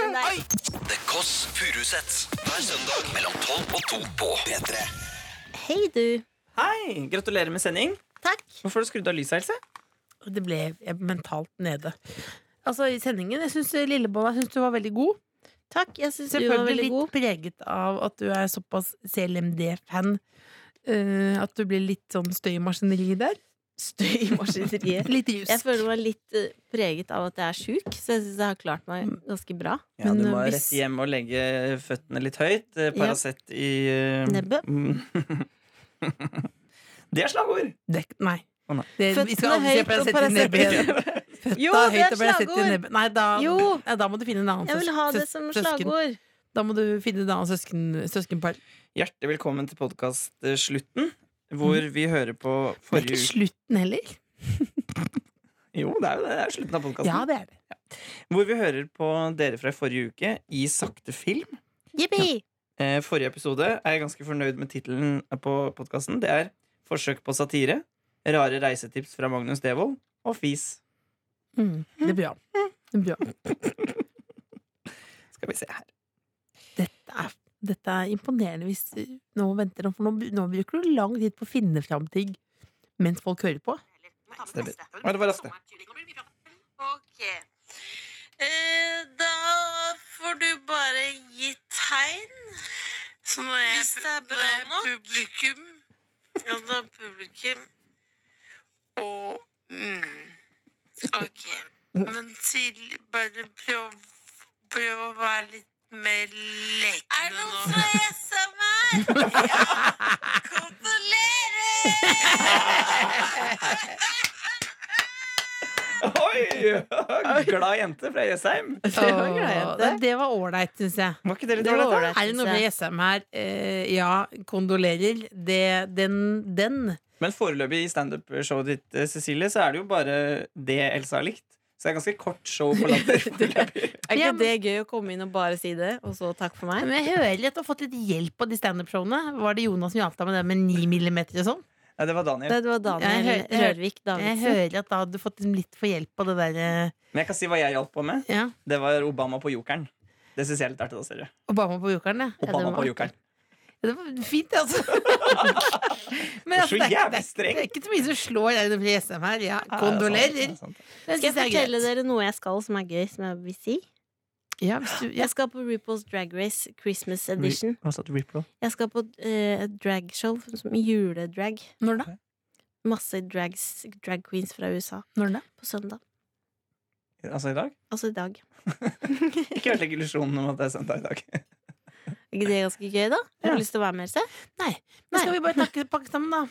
[SPEAKER 3] Nei.
[SPEAKER 2] The Kåss Furuseths hver søndag mellom 12 og 2 på P3.
[SPEAKER 3] Hei, du.
[SPEAKER 8] Hei, gratulerer med sending.
[SPEAKER 3] Takk.
[SPEAKER 8] Hvorfor har du skrudd av lyset, Else?
[SPEAKER 4] Det eh, ble jeg mentalt nede. Altså, i sendingen, jeg syns Lillebolla syns du var veldig god.
[SPEAKER 3] Takk, jeg syns du var
[SPEAKER 4] Selvfølgelig
[SPEAKER 3] veldig
[SPEAKER 4] litt
[SPEAKER 3] god.
[SPEAKER 4] preget av at du er såpass CLMD-fan. eh, at du blir litt sånn støymaskineri der.
[SPEAKER 3] Støy i maskineriet.
[SPEAKER 4] Litt rusk.
[SPEAKER 3] Jeg føler meg litt eh, preget av at jeg er sjuk, så jeg syns jeg har klart meg ganske bra.
[SPEAKER 8] Ja, du
[SPEAKER 4] Men,
[SPEAKER 8] må
[SPEAKER 4] eh,
[SPEAKER 8] rett
[SPEAKER 4] hvis-
[SPEAKER 8] hjem og legge føttene litt høyt. Eh,
[SPEAKER 3] Ja.
[SPEAKER 8] Paracet i eh,
[SPEAKER 3] Nebbet.
[SPEAKER 8] mm. Det er slagord!
[SPEAKER 4] Det, nei.
[SPEAKER 8] Å, nei.
[SPEAKER 4] Det, vi skal
[SPEAKER 3] Føttene
[SPEAKER 4] aldri se
[SPEAKER 3] høyt og
[SPEAKER 4] Paracet i
[SPEAKER 3] Paracet i
[SPEAKER 4] nebbet. Føtta
[SPEAKER 3] Jo, det er
[SPEAKER 4] høyt og Paracet i
[SPEAKER 3] slagord.
[SPEAKER 4] nebbet. Nei, da,
[SPEAKER 3] Jo.
[SPEAKER 4] ja, da må du finne en annen
[SPEAKER 3] Jeg vil
[SPEAKER 4] søs-
[SPEAKER 3] ha det
[SPEAKER 4] søs-
[SPEAKER 3] som
[SPEAKER 4] søsken.
[SPEAKER 3] slagord.
[SPEAKER 4] Da må du finne et annet søsken, søskenpar.
[SPEAKER 8] Hjertelig velkommen til podkast-slutten, hvor vi hører på
[SPEAKER 4] Det er
[SPEAKER 8] forrige
[SPEAKER 4] ikke
[SPEAKER 8] uke
[SPEAKER 4] slutten heller.
[SPEAKER 8] Jo, det er jo det. Det er jo slutten av podkasten.
[SPEAKER 4] Ja, det er det.
[SPEAKER 8] Hvor vi hører på dere fra forrige uke i sakte film.
[SPEAKER 3] Jippi!
[SPEAKER 8] Eh, forrige episode er jeg ganske fornøyd med tittelen på podkasten. Det er Forsøk på satire, rare reisetips fra Magnus Devold og fis.
[SPEAKER 4] Mm. Det er bra. Det er bra.
[SPEAKER 8] Skal vi se her.
[SPEAKER 4] Dette er, dette er imponerende hvis du nå venter nå, for nå, br- nå bruker du lang tid på å finne fram ting mens folk hører på.
[SPEAKER 8] Stemmer. Ja, det var raskt, det.
[SPEAKER 3] Ok. Eh, da får du bare gi tegn. Hvis det er bra nok. Publikum. Ja, da er publikum. Og mm. Ok. Men til, bare prøv, prøv å være litt mer lekende nå. Er det noen fra SMR? Ja! Gratulerer!
[SPEAKER 8] Oi! Glad jente fra Jessheim.
[SPEAKER 3] Det var greit, det.
[SPEAKER 4] Åh, det var ålreit, syns jeg.
[SPEAKER 8] Var ikke det litt
[SPEAKER 3] Det var
[SPEAKER 8] ålreit? da?
[SPEAKER 3] ålreit.
[SPEAKER 4] Er det noe
[SPEAKER 3] synes
[SPEAKER 4] med
[SPEAKER 3] jeg.
[SPEAKER 4] Jessheim her? Eh, ja, kondolerer. Det, den, den.
[SPEAKER 8] Men foreløpig i standup-showet ditt, eh, Cecilie, så er det jo bare det Elsa har likt. Så det er ganske kort show på latter. foreløpig.
[SPEAKER 3] Er
[SPEAKER 4] Ja,
[SPEAKER 3] ikke
[SPEAKER 4] men-
[SPEAKER 3] det gøy å komme inn og bare si det, og så takk for meg?
[SPEAKER 4] Men jeg hører at du har fått litt hjelp på de standup-showene. Var det Jonas som hjalp deg med det med 9 millimeter og sånn?
[SPEAKER 8] Nei, det var Daniel.
[SPEAKER 3] Det var Daniel
[SPEAKER 4] Jeg hø- jeg-
[SPEAKER 3] Rørvik
[SPEAKER 4] Jeg
[SPEAKER 3] Davidsen.
[SPEAKER 4] hører at da hadde du fått liksom litt for hjelp på det der eh,
[SPEAKER 8] Men jeg kan si hva jeg hjalp på med.
[SPEAKER 4] ja.
[SPEAKER 8] Det var Obama på jokeren. Det syns jeg er litt artig. da, ser du.
[SPEAKER 4] Obama på jokeren, ja. Ja, det
[SPEAKER 8] Obama
[SPEAKER 4] var-
[SPEAKER 8] på jokeren.
[SPEAKER 4] Ja, Det var fint, altså. Men
[SPEAKER 8] er
[SPEAKER 4] altså, det,
[SPEAKER 8] så
[SPEAKER 4] er, ikke-
[SPEAKER 8] jævlig
[SPEAKER 4] det, er,
[SPEAKER 8] streng.
[SPEAKER 4] ikke- det er ikke så mye som slår deg når du blir SM her. Ja,
[SPEAKER 8] Ja, det er sant, det
[SPEAKER 4] kondolerer.
[SPEAKER 8] er sant.
[SPEAKER 4] Det
[SPEAKER 3] Skal jeg
[SPEAKER 4] synes jeg er
[SPEAKER 3] fortelle
[SPEAKER 4] greit.
[SPEAKER 3] dere noe jeg skal som er gøy, som jeg vil si?
[SPEAKER 4] Ja, hvis du, ja.
[SPEAKER 3] Jeg skal på RuPaul's Drag Race Christmas Edition.
[SPEAKER 8] Hva sa du, Riplo?
[SPEAKER 3] Jeg skal på eh, et dragshow, som juledrag.
[SPEAKER 4] Når da?
[SPEAKER 3] Masse drags, drag queens fra USA
[SPEAKER 4] Når da?
[SPEAKER 3] på søndag.
[SPEAKER 8] Altså i dag?
[SPEAKER 3] Altså i dag.
[SPEAKER 8] Ikke ødelegg illusjonen om at det er søndag i dag.
[SPEAKER 3] Er ikke det ganske gøy, da? Har du lyst til å være med, Else?
[SPEAKER 4] Men skal vi bare takke pakke sammen, da?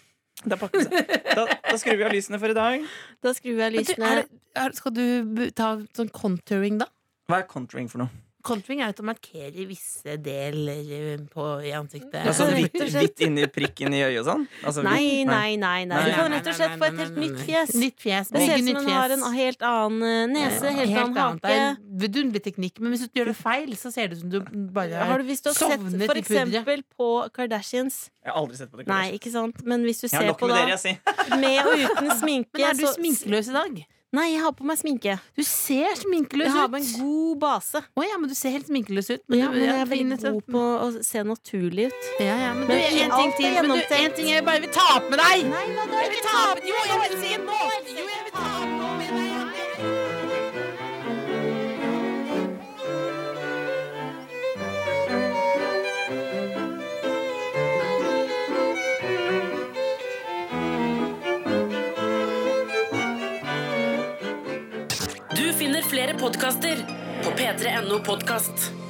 [SPEAKER 8] Da, pakker det seg. da, da skrur vi av lysene for i dag.
[SPEAKER 3] Da skrur jeg
[SPEAKER 4] Men du,
[SPEAKER 3] lysene.
[SPEAKER 4] er, det- er, skal du bu- ta sånn contouring, da?
[SPEAKER 8] Hva er contouring for noe?
[SPEAKER 4] Contouring er jo til å markere visse deler eh, på, i ansiktet.
[SPEAKER 8] Altså
[SPEAKER 3] rett
[SPEAKER 8] hvitt,
[SPEAKER 3] og slett.
[SPEAKER 8] hvitt inni prikk inni øyet og sånn? Altså,
[SPEAKER 3] Nei,
[SPEAKER 8] hvitt?
[SPEAKER 3] nei, nei. nei. Du
[SPEAKER 8] Nei,
[SPEAKER 3] kan rett og slett få et helt nytt fjes.
[SPEAKER 4] Nytt fjes.
[SPEAKER 3] Det ser
[SPEAKER 4] Bygge
[SPEAKER 3] ut som
[SPEAKER 4] nytt
[SPEAKER 3] hun har en
[SPEAKER 4] fjes.
[SPEAKER 3] helt annen eh, nese, helt annen
[SPEAKER 4] annet. Det er
[SPEAKER 3] hake.
[SPEAKER 4] en Vidunderlig teknikk, men hvis du gjør det feil, så ser det ut som du bare
[SPEAKER 3] Har du, hvis du har sett
[SPEAKER 4] sovnet
[SPEAKER 3] for
[SPEAKER 4] i pudderet.
[SPEAKER 3] eksempel på Kardashians
[SPEAKER 8] Jeg har aldri sett på det.
[SPEAKER 3] Nei, ikke sant? Men hvis du
[SPEAKER 8] Jeg har
[SPEAKER 3] ser
[SPEAKER 8] nok
[SPEAKER 3] på
[SPEAKER 8] med
[SPEAKER 3] da
[SPEAKER 8] dere, altså. jeg, si.
[SPEAKER 3] med og uten sminke
[SPEAKER 4] Men er du
[SPEAKER 3] så-
[SPEAKER 4] sminkeløs i dag?
[SPEAKER 3] Nei, jeg har på meg sminke.
[SPEAKER 4] Du ser sminkeløs
[SPEAKER 3] Jeg har
[SPEAKER 4] ut.
[SPEAKER 3] på en god base.
[SPEAKER 4] Å ja, men du ser helt sminkeløs ut.
[SPEAKER 3] Ja, men jeg er
[SPEAKER 4] fin
[SPEAKER 3] veldig
[SPEAKER 4] etter-
[SPEAKER 3] god på å se naturlig ut.
[SPEAKER 4] ja, ja, men du,
[SPEAKER 3] Men
[SPEAKER 4] en ting
[SPEAKER 3] alt er
[SPEAKER 4] til. Men du,
[SPEAKER 3] gjennomtenkt.
[SPEAKER 4] en ting jeg bare vil ta opp med deg.
[SPEAKER 3] Nei, la
[SPEAKER 4] Jeg vil ta opp Jo, jeg vil si det nå. Jo, jeg vil ta opp nå med deg.
[SPEAKER 6] Du finner flere podkaster på p3.no podkast.